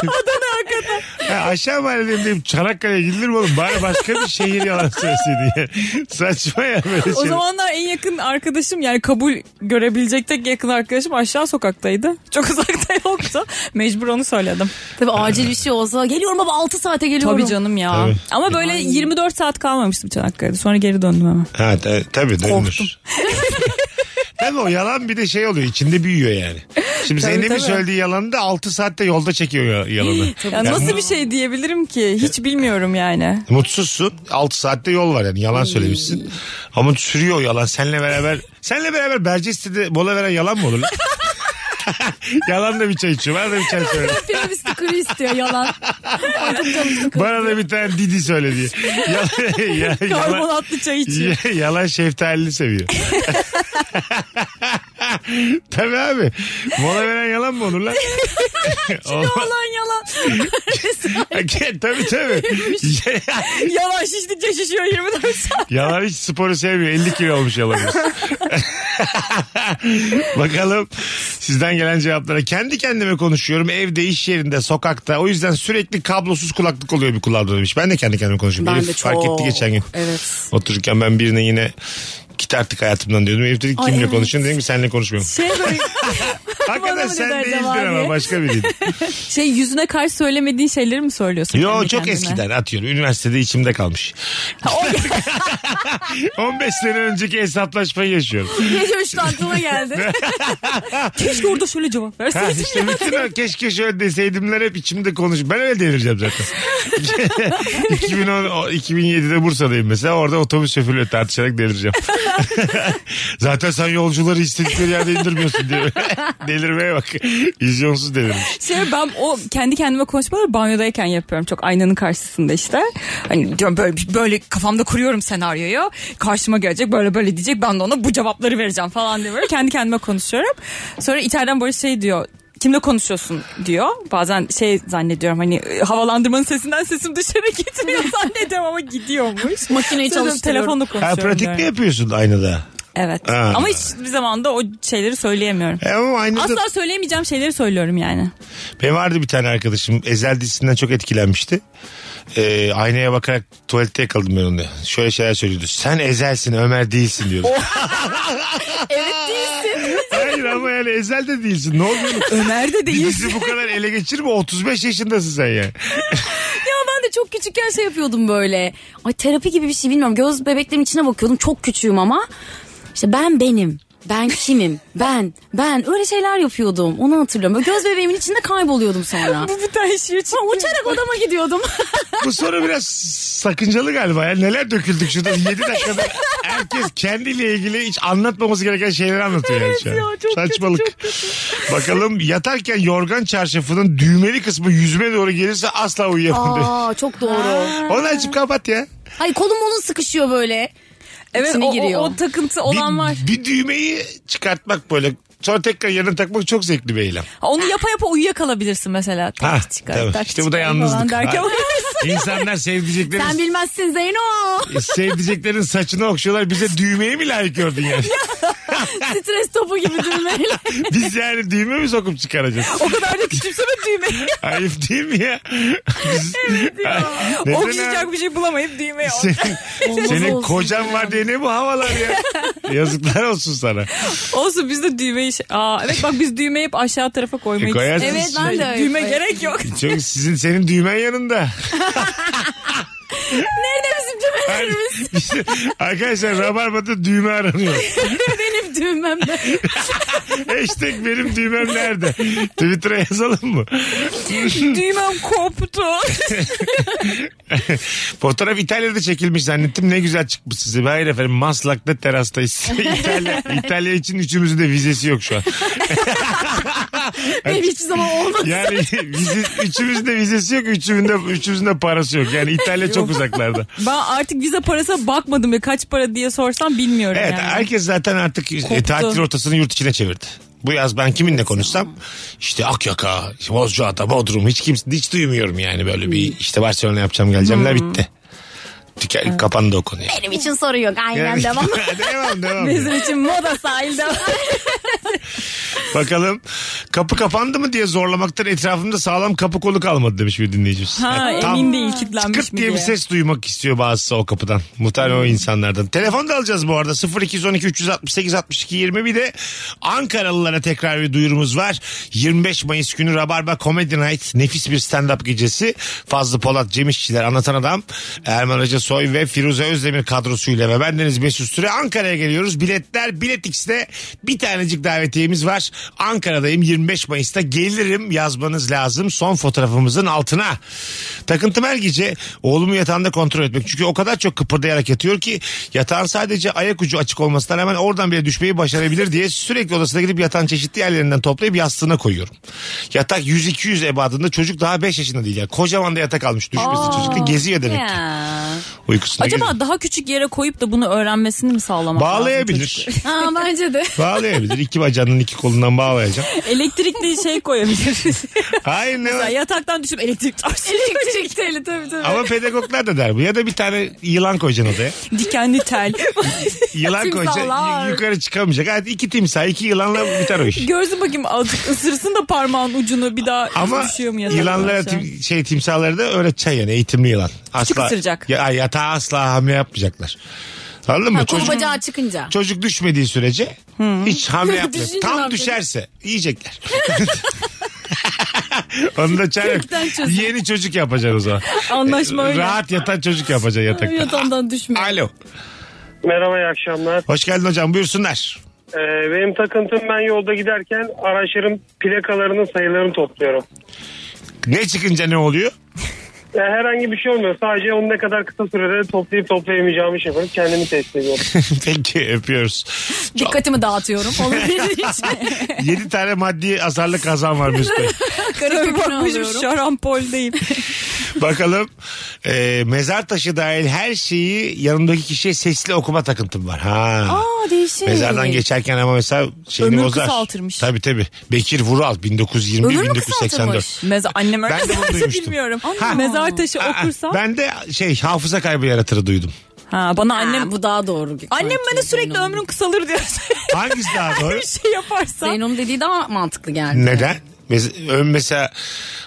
Adana hakikaten. Ha, aşağı mahalleden deyip Çanakkale'ye gidilir mi oğlum? Bari başka bir şehir yalan söyleseydi. ya. Saçma ya böyle o şey. zamanlar en yakın arkadaşım yani kabul görebilecek tek yakın arkadaşım aşağı sokaktaydı. Çok uzakta yoktu. Mecbur onu söyledim. Tabii acil bir şey olsa geliyorum baba 6 saate geliyorum. Tabii canım ya. Tabii. Ama böyle 24 saat kalmamıştım Çanakkale'de. Sonra geri döndüm hemen. Ha, ta- tabii dönülür. Tabii o yalan bir de şey oluyor içinde büyüyor yani. Şimdi Tabii, Zeynep'in tabii. söylediği yalanı da 6 saatte yolda çekiyor ya- yalanı. Ya Yani nasıl bir şey diyebilirim ki? Hiç bilmiyorum yani. Mutsuzsun. 6 saatte yol var yani. Yalan söylemişsin. Ama sürüyor o yalan. Seninle beraber seninle beraber Berceste'de mola veren yalan mı olur? lan? yalan da bir çay içiyor. Bana da bir çay söyle. Pilavist kuru istiyor yalan. Ay, çok canım sıkıldı. Bana da şey bir tane Didi söyle diye. Yalan, ya- yalan, Karbonatlı çay içiyor. Ya- yalan şeftalini seviyor. Tabii abi. Mola veren yalan mı olur lan? Olmaz. yalan yalan. tabii tabii. yalan şiştikçe şişiyor 24 saat. Yalan hiç sporu sevmiyor. 50 kilo olmuş yalanımız. Bakalım sizden gelen cevaplara. Kendi kendime konuşuyorum. Evde, iş yerinde, sokakta. O yüzden sürekli kablosuz kulaklık oluyor bir kulağımda demiş. Ben de kendi kendime konuşuyorum. Ben Elif de fark etti çok. geçen gün. Evet. Otururken ben birine yine git artık hayatımdan diyordum. Elif dedi Ay, kimle evet. konuşuyorsun? Dedim ki senle konuşmuyorum. Şey böyle Bana Hakikaten mı sen dedi değildin acaba ama diye. başka biriydi. şey yüzüne karşı söylemediğin şeyleri mi söylüyorsun? Yo kendi çok kendine? eskiden atıyorum. Üniversitede içimde kalmış. 15 sene önceki hesaplaşmayı yaşıyorum. Gece 3'te aklıma geldi. Keşke orada şöyle cevap Ha verseydin. işte bütün o keşke şöyle deseydimler hep içimde konuş. Ben öyle delireceğim zaten. 2010, o- 2007'de Bursa'dayım mesela. Orada otobüs şoförüyle tartışarak delireceğim. zaten sen yolcuları istedikleri yerde indirmiyorsun diye. Delirmeye bak. Vizyonsuz delirmiş. Şey ben o kendi kendime konuşmaları banyodayken yapıyorum. Çok aynanın karşısında işte. Hani diyorum böyle, böyle kafamda kuruyorum senaryoyu. Karşıma gelecek böyle böyle diyecek. Ben de ona bu cevapları vereceğim falan diye böyle kendi kendime konuşuyorum. Sonra içeriden böyle şey diyor. Kimle konuşuyorsun diyor. Bazen şey zannediyorum hani e, havalandırmanın sesinden sesim dışarı gitmiyor zannediyorum ama gidiyormuş. Makineyi Sonra diyorum, çalıştırıyorum. Telefonla Ha, konuşuyorum. pratik mi diyorum. yapıyorsun aynada? Evet. Ha. Ama hiçbir zamanda o şeyleri söyleyemiyorum. E ama aynada... Asla söyleyemeyeceğim şeyleri söylüyorum yani. Benim vardı bir tane arkadaşım. Ezel dizisinden çok etkilenmişti. Ee, aynaya bakarak tuvalette yakaladım ben onu. Şöyle şeyler söylüyordu. Sen Ezel'sin Ömer değilsin diyordu. Oh. evet değilsin. Hayır ama yani Ezel de değilsin. Ne oluyor? Ömer de Bir değil. dizi bu kadar ele geçirme 35 yaşındasın sen yani. Ya ben de çok küçükken şey yapıyordum böyle. Ay terapi gibi bir şey bilmiyorum. Göz bebeklerimin içine bakıyordum. Çok küçüğüm ama. İşte ben benim. Ben kimim? Ben, ben. Öyle şeyler yapıyordum. Onu hatırlıyorum. Böyle göz bebeğimin içinde kayboluyordum sonra. Bu bir tane şiir Sonra uçarak odama gidiyordum. Bu soru biraz sakıncalı galiba. ya. neler döküldük şurada 7 dakikada. Herkes kendiyle ilgili hiç anlatmaması gereken şeyleri anlatıyor. yani şu an. Saçmalık. Bakalım yatarken yorgan çarşafının düğmeli kısmı yüzüme doğru gelirse asla uyuyamam diyor. Aa çok doğru. Onu açıp kapat ya. Hayır kolum onun sıkışıyor böyle. Evet İçine o, giriyor. o, o takıntı olan bir, var. bir düğmeyi çıkartmak böyle. Sonra tekrar yanına takmak çok zevkli bir eylem. Onu yapa yapa uyuyakalabilirsin mesela. Tak Ha, çıkar, Ah, tabii. tak İşte bu da çıkar falan yalnızlık. derken- Ha. İnsanlar sevdiceklerin, Sen bilmezsin Zeyno. sevdiceklerin saçını okşuyorlar. Bize düğmeyi mi layık gördün yani? Stres topu gibi düğmeyle. Biz yani düğme mi sokup çıkaracağız? o kadar da küçümseme düğmeyi. Ayıp değil mi ya? Biz- Ay, neden Okşayacak abi? bir şey bulamayıp düğmeye al. Senin, Olmaz senin olsun kocan ya. var diye ne bu havalar ya? Yazıklar olsun sana. Olsun biz de düğmeyi Ateş. Aa, evet bak biz düğmeyi hep aşağı tarafa E, koymayı koyarsınız Evet ben şimdi. de Düğme gerek yok. Çünkü sizin senin düğmen yanında. Nerede bizim düğmelerimiz? İşte Arkadaşlar Rabarba'da düğme aranıyor. Benim düğmem de. Hashtag benim düğmem nerede? Twitter'a yazalım mı? Düğmem koptu. Fotoğraf İtalya'da çekilmiş zannettim. Ne güzel çıkmış size. Hayır efendim Maslak'ta terastayız. İtalya, İtalya için üçümüzün de vizesi yok şu an. Benim hiçbir zaman olmadı. Yani vize, üçümüzün de vizesi yok. Üçümüzün de, üçümüzün de parası yok. Yani İtalya çok uzaklarda. Ben artık vize parasına bakmadım ve kaç para diye sorsam bilmiyorum Evet yani. herkes zaten artık e, tatil rotasını yurt içine çevirdi. Bu yaz ben kiminle konuşsam işte Akyaka, Bozcaada, Bodrum hiç kimse hiç duymuyorum yani böyle bir işte Barcelona yapacağım geleceğimler Hmm. bitti. Tüke, Kapandı o konuya. Benim için soru yok. Aynen Yani- devam. devam devam. Bizim için moda sahil devam. Bakalım kapı kapandı mı diye zorlamaktan etrafımda sağlam kapı kolu kalmadı demiş bir dinleyicimiz. Ha, Yani tam emin değil kilitlenmiş Kırt mi diye bir ses Hmm. duymak istiyor bazısı o kapıdan. Muhtemelen o insanlardan. Telefon da alacağız bu arada. 0212 368 62 20 bir de Ankaralılara tekrar bir duyurumuz var. 25 Mayıs günü Rabarba Comedy Night nefis bir stand-up gecesi. Fazlı Polat, Cem İşçiler, Anlatan Adam, Erman Hoca Soy ve Firuze Özdemir kadrosuyla ve bendeniz Mesut Süre Ankara'ya geliyoruz. Biletler Bilet X'de bir tanecik davetiyemiz var. Ankara'dayım 25 Mayıs'ta gelirim yazmanız lazım son fotoğrafımızın altına. Takıntım her gece oğlumu yatağında kontrol etmek. Çünkü o kadar çok kıpırdayarak yatıyor ki yatağın sadece ayak ucu açık olmasından hemen oradan bile düşmeyi başarabilir diye sürekli odasına gidip yatağın çeşitli yerlerinden toplayıp yastığına koyuyorum. Yatak 100-200 ebadında çocuk daha 5 yaşında değil. Yani kocaman da yatak almış düşmesin çocuk da geziyor demek ki. Ya. Uykusuna Acaba giriyor. daha küçük yere koyup da bunu öğrenmesini mi sağlamak Bağlayabilir. Aa, bence de. Bağlayabilir. İki bacağının iki kolundan bağlayacağım. Elektrikli şey koyabiliriz. Hayır ne var? Mesela yataktan düşüp elektrik çarşı. elektrik teli tabii tabii. Ama pedagoglar da der bu. Ya da bir tane yılan koyacaksın odaya. Dikenli tel. Yılan koyacaksın Timsahlar. y- yukarı çıkamayacak. Hadi iki timsah iki yılanla biter o iş. Görsün bakayım azıcık ısırsın da parmağın ucunu bir daha Ama düşüyor mu yataktan yılanlara aşağı? tim- şey timsahları da öğreteceksin yani eğitimli yılan. Asla, ısıracak. Ya, yatağa asla hamle yapmayacaklar. Anladın mı? Ha, kolu Çocuk, bacağı çıkınca. çocuk düşmediği sürece hiç hamle yapmıyor. Düşünce ne Tam yapacak? düşerse yiyecekler. Onu da çare yok. Kökten çözüm. Yeni çocuk yapacaksın o zaman. E, Anlaşma öyle. Rahat yatan çocuk yapacaksın yatakta. Yatağından düşme. Alo. Merhaba iyi akşamlar. Hoş geldin hocam buyursunlar. Ee, benim takıntım ben yolda giderken araçların plakalarının sayılarını topluyorum. Ne çıkınca ne oluyor? Yani herhangi bir şey olmuyor. Sadece onu ne kadar kısa sürede toplayıp toplayamayacağımı şey yapıp kendimi test ediyorum. Peki öpüyoruz. Dikkatimi dağıtıyorum. Olabilir hiç. 7 tane maddi azarlı kazan var Mesut Bey. Karı bakmışım alıyorum. şarampoldeyim. Bakalım e, mezar taşı dahil her şeyi yanındaki kişiye sesli okuma takıntım var. Ha. Aa değişik. Mezardan geçerken ama mesela şeyini Ömür bozar. kısaltırmış. Tabii tabii. Bekir Vural 1920-1984. Meza annem öyle Ben de bunu derse duymuştum. bilmiyorum. Mezar taşı okursa. Ben de şey hafıza kaybı yaratır duydum. Ha, bana annem bu daha doğru. Annem bana sürekli ömrüm kısalır diyor. Hangisi daha doğru? bir şey yaparsa. Senin onu dediği daha mantıklı geldi. Neden? Mes- ön mesela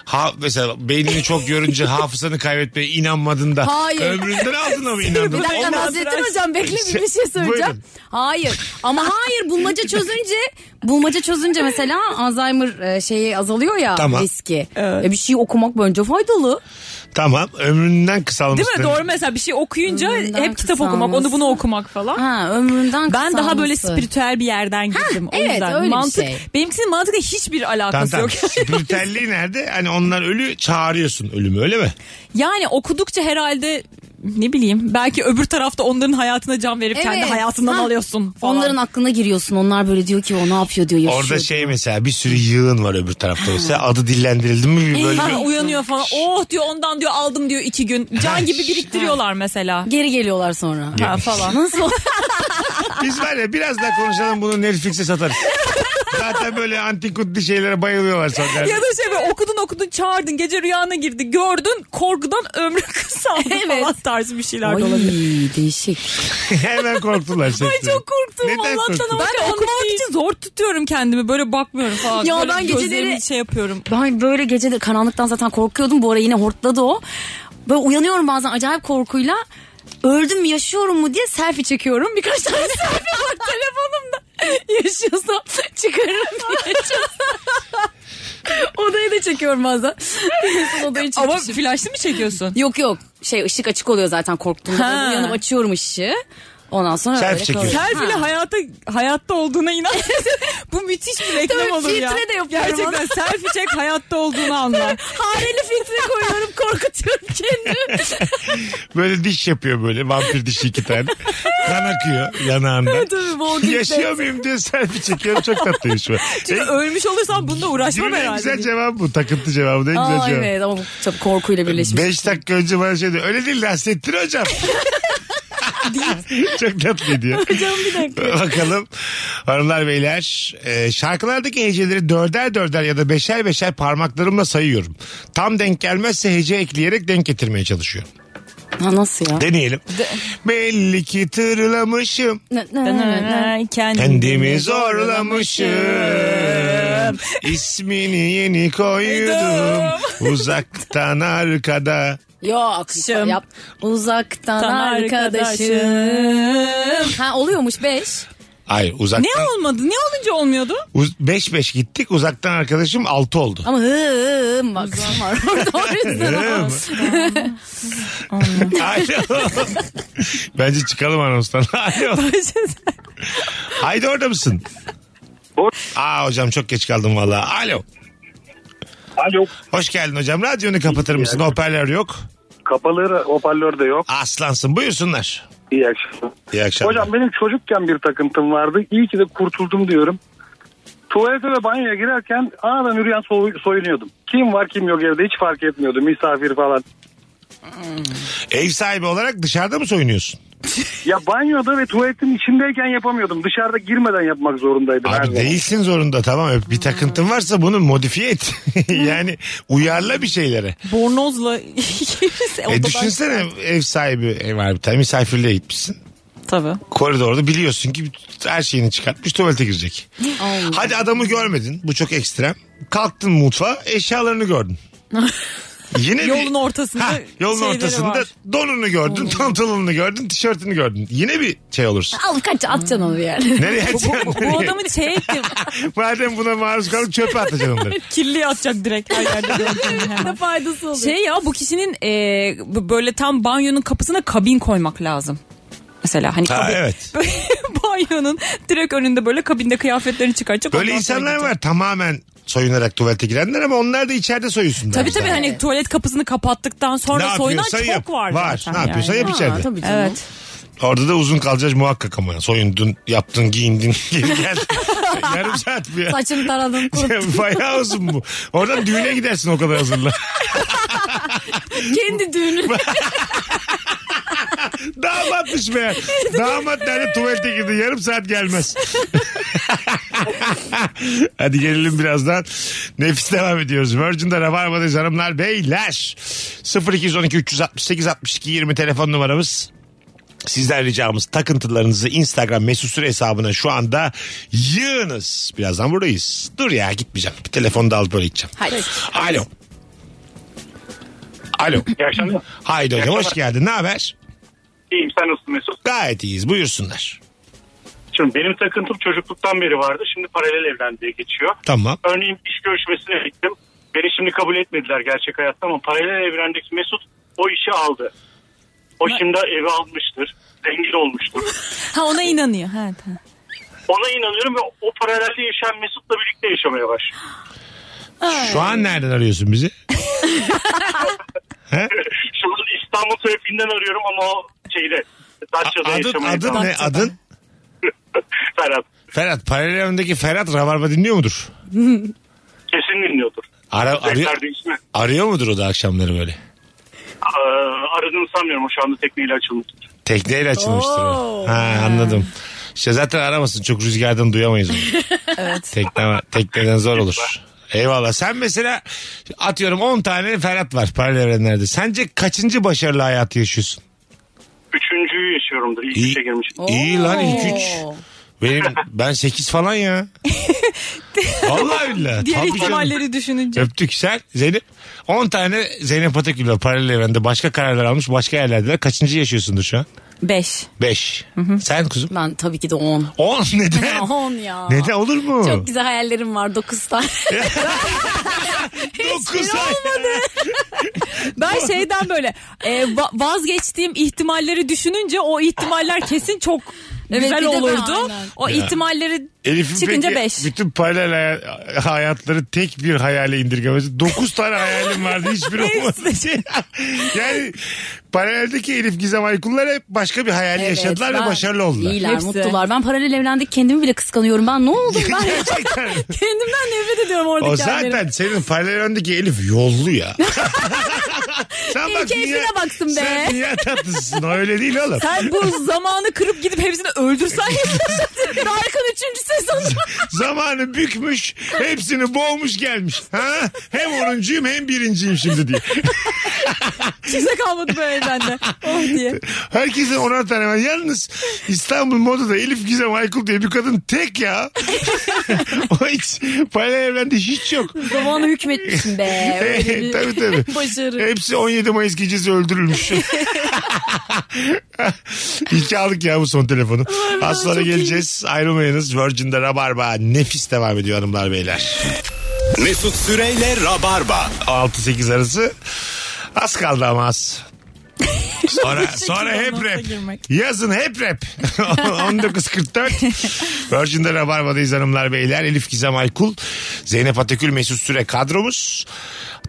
ha mesela beynini çok yorunca hafızanı kaybetmeye inanmadığında Hayır. ömründen aldığına mı inandın? Bir dakika Olmaz. Nasrettin Hocam bekle bir, bir şey Buyurun. söyleyeceğim. Hayır ama hayır bulmaca çözünce bulmaca çözünce mesela Alzheimer e, şeyi azalıyor ya Tamam. riski. E, bir şey okumak bence faydalı. Tamam ömründen kısalmış. Değil mi? Doğru mesela bir şey okuyunca hep kitap okumak, onu bunu okumak falan. Ha, ömründen ben daha böyle kısalması. spiritüel bir yerden girdim. o evet, yüzden öyle bir mantık şey. benimkisinin mantıkla hiçbir Tamam alakası tamam. yok. Spiritelliği nerede? Hani onlar ölü çağırıyorsun ölümü öyle mi? Yani okudukça herhalde ne bileyim belki öbür tarafta onların hayatına can verip kendi Evet, hayatından ha. alıyorsun falan. Onların aklına giriyorsun. Onlar böyle diyor ki o ne yapıyor diyor yaşıyor. Orada şey mesela bir sürü yığın var öbür tarafta mesela adı dillendirildi mi bir böyle Ha, bir- uyanıyor falan. Oh diyor ondan diyor aldım diyor iki gün. Can gibi biriktiriyorlar mesela. Geri geliyorlar sonra. Ha, falan. Nasıl? Biz var ya biraz daha konuşalım bunu Netflix'e satarız. Zaten böyle antik kutlu şeylere bayılıyorlar sonra. ya da şey böyle okudun okudun çağırdın gece rüyana girdi gördün korkudan ömrü kısaldı falan tarzı bir şeyler Ay de olabilir. değişik. Hemen korktular. Ay sesleri. çok korktum Neden korktun? Allah'tan ama ben okumamak için zor tutuyorum kendimi böyle bakmıyorum falan. Ya Böyle ben geceleri- gözlerimi şey yapıyorum. Ben böyle gecede karanlıktan zaten korkuyordum. Bu ara yine hortladı o. Böyle uyanıyorum bazen acayip korkuyla. Öldüm mü yaşıyorum mu diye selfie çekiyorum. Birkaç tane selfie var telefonumda. Yaşıyorsam çıkarırım. çekiyorum bazen. Son odayı Ama çekmişim. flaşlı mı çekiyorsun? Yok yok. Şey ışık açık oluyor zaten korktuğumda. Ha. Ha. Yanım açıyorum ışığı. Ondan sonra Selfie öyle kalıyor. çekiyorsun. Selfie ile hayatta hayatta olduğuna inan. Bu müthiş bir reklam Tabii, olur ya. filtre de yapıyorum Gerçekten ona. selfie çek hayatta olduğunu anla. Hareli filtre koyuyorum korkutuyorum kendimi. Böyle diş yapıyor böyle vampir dişi iki tane. Kan akıyor yanağından. Tabii, Walking Yaşıyor Dead. muyum diye selfie çekiyorum çok tatlıymış şu an. Çünkü ölmüş olursam bununla uğraşmam Günün en herhalde. güzel cevabı bu. Takıntı cevabı da en güzel Aa cevabı. evet ama tabii korkuyla birleşmiş. 5 dakika önce bana şey diyor. Öyle değil Nasrettin hocam. Çok tatlı diyor. Hocam bir dakika. Bakalım hanımlar beyler e, şarkılardaki heceleri dörder dörder ya da beşer beşer parmaklarımla sayıyorum. Tam denk gelmezse hece ekleyerek denk getirmeye çalışıyorum. Ha, nasıl ya? Deneyelim. Belli ki tırlamışım. Kendimi zorlamışım. İsmini yeni koydum. Uzaktan arkada. Yok yap. Uzaktan Tan arkadaşım. arkadaşım. ha oluyormuş 5. Hayır uzaktan. Ne olmadı? Ne olunca olmuyordu? Uz- Beş beş gittik uzaktan arkadaşım altı oldu. Ama hıım bak var orada o yüzden ama. Alo. Bence çıkalım anonstan. Alo. Haydi orada mısın? Aa hocam çok geç kaldım valla. Alo. Alo. Hoş geldin hocam. Radyonu kapatır mısın? Hoparlör yok. Kapalı hoparlör de yok. Aslansın. Buyursunlar. İyi akşamlar. İyi akşamlar. Hocam benim çocukken bir takıntım vardı. İyi ki de kurtuldum diyorum. Tuvalete ve banyoya girerken anadan yürüyen so- soyunuyordum. Kim var kim yok evde hiç fark etmiyordu. Misafir falan. Ev sahibi olarak dışarıda mı soyunuyorsun? Ya banyoda ve tuvaletin içindeyken yapamıyordum. Dışarıda girmeden yapmak zorundaydım. her Abi zaman. değilsin zorunda tamam. öp- Bir takıntın varsa bunu modifiye et. yani uyarla bir şeylere. Bornozla E, düşünsene ev sahibi ev abi tabii misafirliğe gitmişsin. Tabii. Koridorda biliyorsun ki her şeyini çıkartmış tuvalete girecek. Hadi adamı görmedin. Bu çok ekstrem. Kalktın mutfağa eşyalarını gördün. Yine bir- Yolun ortasında E, yolun şeyleri ortasında var. Hmm. donunu gördün, pantolonunu gördün, tişörtünü gördün. Yine bir şey olursun. Al kaç atacaksın onu bir yere. Nereye atacaksın? Bu, bu Nereye? adamı şeye ettim. Madem buna maruz kaldık çöpe atacaksın onları. Kirliye atacak direkt her yerde. Ne faydası oluyor? Şey ya bu kişinin e, bu- böyle tam banyonun kapısına kabin koymak lazım. Mesela hani Ha, kabin- evet. banyonun direkt önünde böyle kabinde kıyafetlerini çıkaracak. Böyle ondan sonra insanlar gidecek. var tamamen soyunarak tuvalete girenler ama onlar da içeride soyusunlar. Tabii tabii hani tuvalet kapısını kapattıktan sonra Ne soyunan yapıyorsa çok yap. var. Var. zaten Ne yapıyorsa yap içeride. tabii canım. Evet. Orada da uzun kalacağız muhakkak ama. Soyundun, yaptın, giyindin, geri geldin. Yarım saat bu ya. Saçını taradın kuruttun. Bayağı uzun bu. Oradan düğüne gidersin o kadar hazırla. Kendi düğünü. Damatmış be. Damat nerede tuvalete girdi. Yarım saat gelmez. Hadi gelelim birazdan. Nefis devam ediyoruz. Virgin'de Rabarba'dayız hanımlar beyler. 0212 368 62 20 telefon numaramız. Sizden ricamız takıntılarınızı Instagram mesut süre hesabına şu anda yığınız. Birazdan buradayız. Dur ya gitmeyeceğim. Bir telefonu da alıp böyle gideceğim. Hayır. Alo. Alo. İyi akşamlar. Haydi hocam İyi hoş akşamlar. geldin. Ne haber? İyiyim sen nasılsın Mesut? Gayet iyiyiz. Buyursunlar. Şimdi benim takıntım çocukluktan beri vardı. Şimdi paralel evren diye geçiyor. Tamam. Örneğin iş görüşmesine gittim. Beni şimdi kabul etmediler gerçek hayatta ama paralel evrendeki Mesut o işi aldı. O şimdi evi almıştır. Zengin olmuştur. Ha ona inanıyor. Ha, tamam. Ona inanıyorum ve o paralelde yaşayan Mesut'la birlikte yaşamaya başlıyor. Şu an nereden arıyorsun bizi? He? Şu an İstanbul trafiğinden arıyorum ama o şeyde. Datça'da Adın, yaşamaya adın devam ne? Adın? Ferhat. Ferhat. Paralel öndeki Ferhat Rabarba dinliyor mudur? Kesin dinliyordur. Ara, arıyor, Tekrar değişme. arıyor mudur o da akşamları böyle? Ee, aradığını sanmıyorum. O şu anda tekneyle açılmış. Tekneyle açılmıştır o. Ha, anladım. İşte zaten aramasın. Çok rüzgardan duyamayız onu. evet. Tekne, tekneden zor olur. Eyvallah. Sen mesela atıyorum 10 tane Ferhat var paralel evrenlerde. Sence kaçıncı başarılı hayatı yaşıyorsun? Üçüncüyü yaşıyorumdur. İlk İyi- üçe girmişim. iyi lan, ilk üç. Benim ben 8 falan ya. Vallahi billahi. Diğer Tabii canım. ihtimalleri düşününce. Öptük sen Zeynep. 10 tane Zeynep Atakül var paralel evrende başka kararlar almış başka yerlerde de kaçıncı yaşıyorsundur şu an? 5. 5. Sen kuzum? Ben tabii ki de 10. 10 neden? 10 ya. Neden olur mu? Çok güzel hayallerim var 9 tane. Hiçbiri olmadı. ben şeyden böyle e, va- vazgeçtiğim ihtimalleri düşününce o ihtimaller kesin çok Evet, bir güzel de ben olurdu. aynen. O Ya. ihtimalleri Elif'in çıkınca peki 5. bütün paralel hay- hayatları tek bir hayale indirgemesi. Dokuz tane hayalim vardı hiçbiri olmadı. yani paraleldeki Elif Gizem Aykullar hep başka bir hayal Evet, yaşadılar ve ben- başarılı oldular. İyiler, mutlular. Ben paralel evlendik kendimi bile kıskanıyorum. Ben ne oldum ben? Gerçekten. Kendimden nefret ediyorum oradaki O zaten hallerim. senin paralel öndeki Elif yollu ya. sen İyi keyfine dünya- baksın be. Sen dünya tatlısın öyle değil oğlum. Sen bu zamanı kırıp gidip hepsini öldürsen yaşarsın. Dark'ın 3. sezonu. Zamanı bükmüş, hepsini boğmuş gelmiş. Ha? Hem onuncuyum hem birinciyim şimdi diye. Kimse kalmadı bu evden de. Oh diye. Herkesin onar tane var. Yalnız İstanbul modada Elif Gizem Aykul diye bir kadın tek ya. o hiç paralel evrende hiç yok. Zamanı hükmetmişim be. Böyle bir- tabii tabii. Başarı. Hepsi 17 Mayıs gecesi öldürülmüş. İki aldık ya bu son telefonu. Az sonra geleceğiz. Ayrılmayınız. Virgin'de Rabarba nefis devam ediyor hanımlar beyler. Mesut Süreyle Rabarba. 6-8 arası. Az kaldı ama az. Sonra, Bu sonra şekilde hep nota rap. girmek. Yazın hep rap. 19.44. Virgin'de Rabarba'dayız hanımlar beyler. Elif Gizem Aykul, Zeynep Atakül, Mesut Süre kadromuz.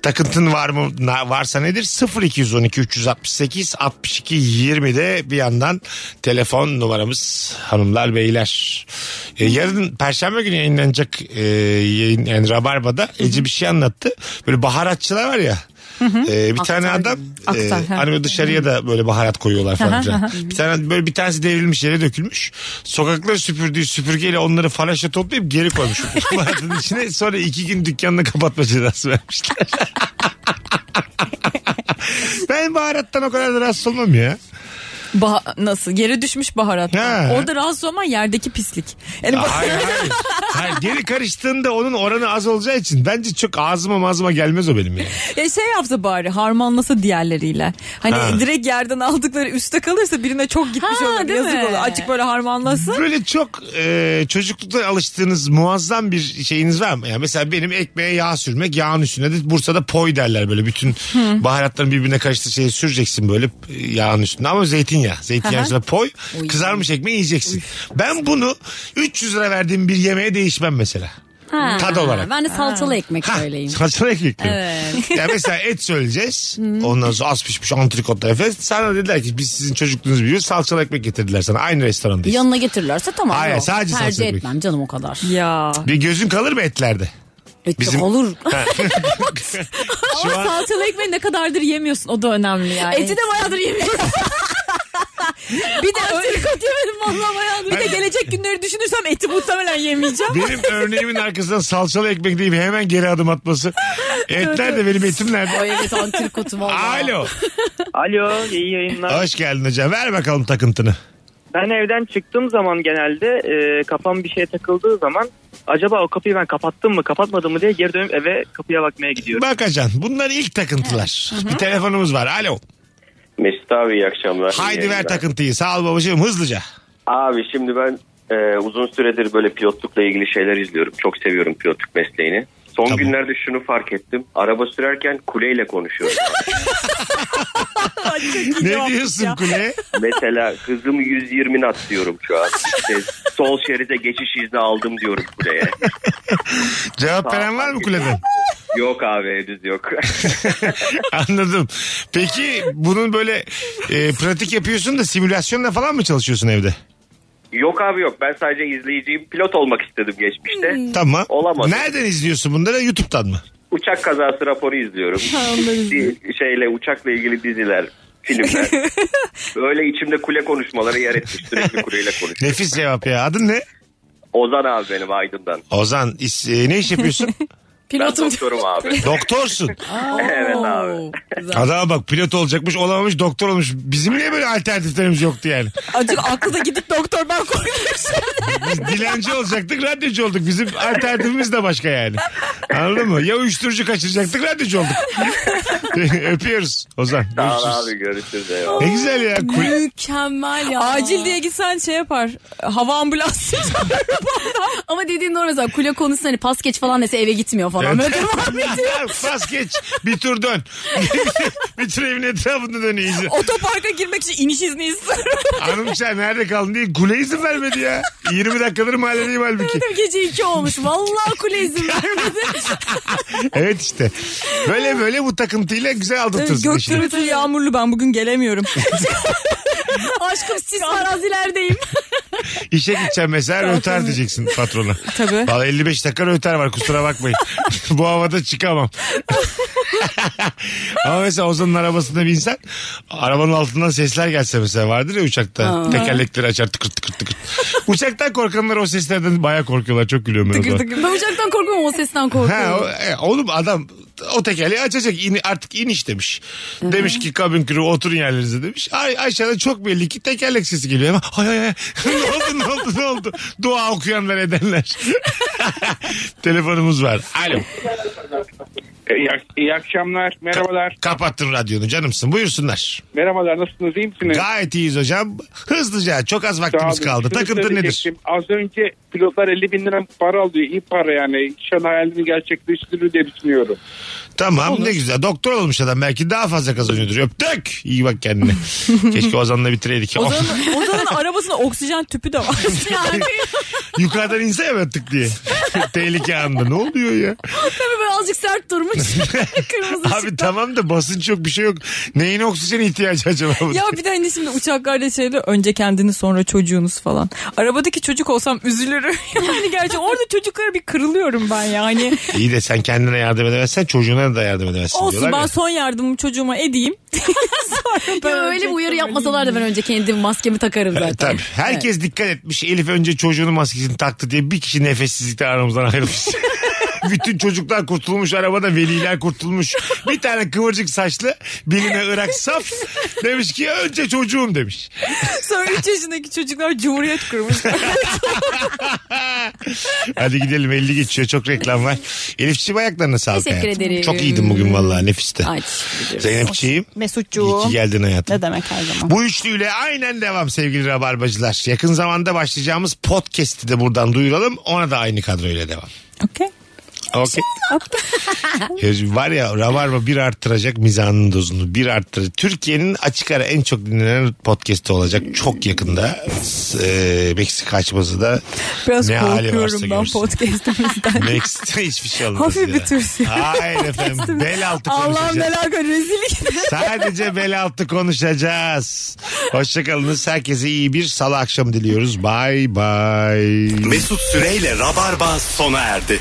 Takıntın var mı na- varsa nedir? 0212 368 62 20'de bir yandan telefon numaramız hanımlar beyler. E, yarın perşembe günü yayınlanacak e, yayın yani Rabarba'da Ece bir şey anlattı. Böyle baharatçılar var ya. Ee, bir tane adam Aktar, e, ha. hani böyle dışarıya da böyle baharat koyuyorlar Aha, falan filan. aha. bir tane böyle bir tanesi devrilmiş yere dökülmüş. Sokakları süpürdüğü süpürgeyle onları falaşla toplayıp geri koymuş bu baharatın içine. Sonra iki gün dükkanını kapatma cezası vermişler. ben baharattan o kadar da rahatsız olmam ya. Bah- nasıl? Yere düşmüş baharat. Ha. Orada rahatsız olman yerdeki pislik. Yani bak- Hayır, hayır. Hayır, geri karıştığında onun oranı az olacağı için bence çok ağzıma mazıma gelmez o benim yani. Ya şey yapsa bari harmanlasa diğerleriyle. Hani Ha. direkt yerden aldıkları üstte kalırsa birine çok gitmiş Ha, olur. değil Yazık mi? olur. Açık böyle harmanlasın. Böyle çok e, çocuklukta alıştığınız muazzam bir şeyiniz var mı? Yani mesela benim ekmeğe yağ sürmek, yağın üstüne de Bursa'da poy derler böyle. Bütün Hı. baharatların birbirine karıştığı şeyi süreceksin böyle e, yağın üstüne. Ama zeytinyağı. Zeytinyağın Aha. üstüne poy, kızarmış ekmeği yiyeceksin. Ben bunu 300 lira verdiğim bir yemeğe değişmem mesela. Ha, Tad olarak. Ben de salçalı ekmek söyleyeyim. Saçma ekmek diyorum. Evet. ya mesela et söyleyeceğiz. Ondan sonra az pişmiş antrikotlar falan. Sana dediler ki biz sizin çocukluğunuz biliyoruz. Salçalı ekmek getirdiler sana. Aynı restorandayız. Yanına getirirlerse tamam. Hayır, yok. sadece salça Tercih ekmek. etmem canım o kadar. Ya. Bir gözün kalır mı etlerde? Et olur. Ha. Ama an- salçalı ekmeği ne kadardır yemiyorsun o da önemli yani. Eti de bayağıdır yemiyorum. bir de antrikot yemedim vallahi bayağıdır. Bir de Hani- Ben- gelecek günleri düşünürsem eti muhtemelen yemeyeceğim. benim örneğimin arkasından salçalı ekmek deyip hemen geri adım atması. Etler de benim etim nerede? Ay evet antrikotu valla. Alo. Alo iyi yayınlar. Hoş geldin hocam. Ver bakalım takıntını. Ben evden çıktığım zaman genelde e, kafam bir şeye takıldığı zaman acaba o kapıyı ben kapattım mı kapatmadım mı diye geri dönüp eve kapıya bakmaya gidiyorum. Bakacaksın. Bunlar ilk takıntılar. Bir telefonumuz var. Alo. Mesut abi iyi akşamlar. Haydi İyi ver yayınlar. takıntıyı. Sağ ol babacığım hızlıca. Abi şimdi ben e, uzun süredir böyle pilotlukla ilgili şeyler izliyorum. Çok seviyorum pilotluk mesleğini. Son günlerde şunu fark ettim. Araba sürerken kuleyle konuşuyorum. ne diyorsun kule? Mesela hızımı 120'ni atlıyorum şu an. İşte sol şeride geçiş izni aldım diyorum kuleye. Cevap veren var mı kuleden? Yok abi henüz yok. Anladım. Peki bunun böyle e, pratik yapıyorsun da simülasyonla falan mı çalışıyorsun evde? yok abi yok. Ben sadece izleyiciyim. Pilot olmak istedim geçmişte. Tamam. Olamadı. Nereden izliyorsun bunları? YouTube'dan mı? Uçak kazası raporu izliyorum. Di- şeyle uçakla ilgili diziler, filmler. Böyle içimde kule konuşmaları yer etmiş. Sürekli kuleyle konuş. Nefis cevap ya. Adın ne? Ozan abi benim Aydın'dan. Ozan is- e, ne iş yapıyorsun? Ben doktorum abi. Doktorsun. evet abi. Adama bak pilot olacakmış olamamış doktor olmuş. Bizim niye böyle alternatiflerimiz yoktu yani? Acık aklı da gidip doktor ben koymuş. Biz dilenci olacaktık radyocu olduk. Bizim alternatifimiz de başka yani. Anladın mı? Ya uyuşturucu kaçıracaktık radyocu olduk. Öpüyoruz Ozan. Sağ ol görüşürüz. abi görüşürüz. eyvallah. Ne güzel ya. Kul- Mükemmel ya. Acil diye gitsen şey yapar. Hava ambulansı çağırır falan. Ama dediğin doğru mesela kule konusunda hani pas geç falan dese eve gitmiyor Evet. falan. Böyle devam ediyor. Pas geç. Bir tur dön. bir tur evin etrafında dön iyice. Otoparka girmek için iniş izni ister. Hanım sen nerede kaldın diye kule izin vermedi ya. 20 dakikadır mahalledeyim halbuki. Gece iki olmuş. Vallahi kule izin vermedi. Evet işte. Böyle böyle bu takıntıyla güzel aldırtırsın Gök işini. gürültülü yağmurlu ben bugün gelemiyorum. Aşkım siz arazilerdeyim. İşe gideceğim mesela röter diyeceksin patrona. Tabii. Valla 55 dakika röter var kusura bakmayın. Bu havada çıkamam. Ama mesela Ozan'ın arabasında bir insan arabanın altından sesler gelse mesela vardır ya uçakta. Aa. Tekerlekleri açar tıkır tıkır tıkır. Uçaktan korkanlar o seslerden baya korkuyorlar. Çok gülüyorum ben o zaman. ben uçaktan korkmam o sesten Ha, korkuyorum. o- e, oğlum adam o tekerleği açacak İni- artık iniş demiş. Demiş ki kabin kuru oturun yerlerinize demiş. Ay, aşağıda çok belli ki tekerlek sesi geliyor. Hemen, Ay ay ay ne oldu ne oldu ne oldu. Dua okuyanlar edenler. Telefonumuz var. Alo. İyi, ak- iyi akşamlar. Merhabalar. Kapattın radyonu canımsın buyursunlar. Merhabalar. Nasılsınız? iyi misiniz? Gayet iyiyiz hocam. Hızlıca çok az vaktimiz Sağ olun. kaldı. Şunu Takıntı nedir? söyleyecektim. Az önce pilotlar 50 bin lira para alıyor. İyi para yani. İnşallah hayalini gerçekleştirir diye düşünüyorum. Tamam ne güzel. Doktor olmuş adam belki daha fazla kazanıyordur. Öptük. İyi bak kendine. Keşke Ozan'la bitireydik. Ozan'ın, Ozan'ın arabasında oksijen tüpü de var. Yani. Yukarıdan inse evet tık diye. Tehlike anında. Ne oluyor ya? Tabii böyle azıcık sert durmuş. Kırmızı Abi tamam da basınç yok bir şey yok. Neyin oksijen ihtiyacı acaba? bu? Ya bir de hani şimdi uçaklarda şeyde önce kendini sonra çocuğunuz falan. Arabadaki çocuk olsam üzülürüm. Yani gerçi orada çocuklara bir kırılıyorum ben yani. İyi de sen kendine yardım edemezsen çocuğuna da yardım edemezsin Olsun diyorlar ben ya. son yardımımı çocuğuma edeyim. Sonra ben Ya öyle bir uyarı ölecektim. yapmasalar da ben önce kendim maskemi takarım zaten. E, Tabii. Herkes dikkat etmiş. Elif önce çocuğunun maskesini taktı diye bir kişi nefessizlikte aramızdan ayrılmış. Bütün çocuklar kurtulmuş arabada veliler kurtulmuş. Bir tane kıvırcık saçlı biline ırak saf demiş ki önce çocuğum demiş. Sonra 3 yaşındaki çocuklar cumhuriyet kurmuşlar. Hadi gidelim 50 geçiyor çok reklam var. Elifçiğim ayaklarına sağlık. Teşekkür hayatım. ederim. Çok iyiydin bugün vallahi nefisti. Zeynepçiğim. Mesutcuğum. İyi ki geldin hayatım. Ne demek her zaman. Bu üçlüyle aynen devam sevgili rabarbacılar. Yakın zamanda başlayacağımız podcast'i de buradan duyuralım. Ona da aynı kadroyla devam. Okey. Okey. Ya var ya Rabarba bir arttıracak mizanın dozunu bir arttıracak. Türkiye'nin açık ara en çok dinlenen podcast'i olacak çok yakında. Ee, Meksika açması da Biraz ne hali varsa korkuyorum ben görsün. podcast'imizden. Meksika hiçbir şey olmaz Hafif ya. bir tırsıyorum. Hayır efendim bel altı Allah'ım konuşacağız. neler gör rezillik. Sadece bel altı konuşacağız. Hoşçakalınız. Herkese iyi bir salı akşamı diliyoruz. Bay bay. Mesut Süreyle Rabarba sona erdi.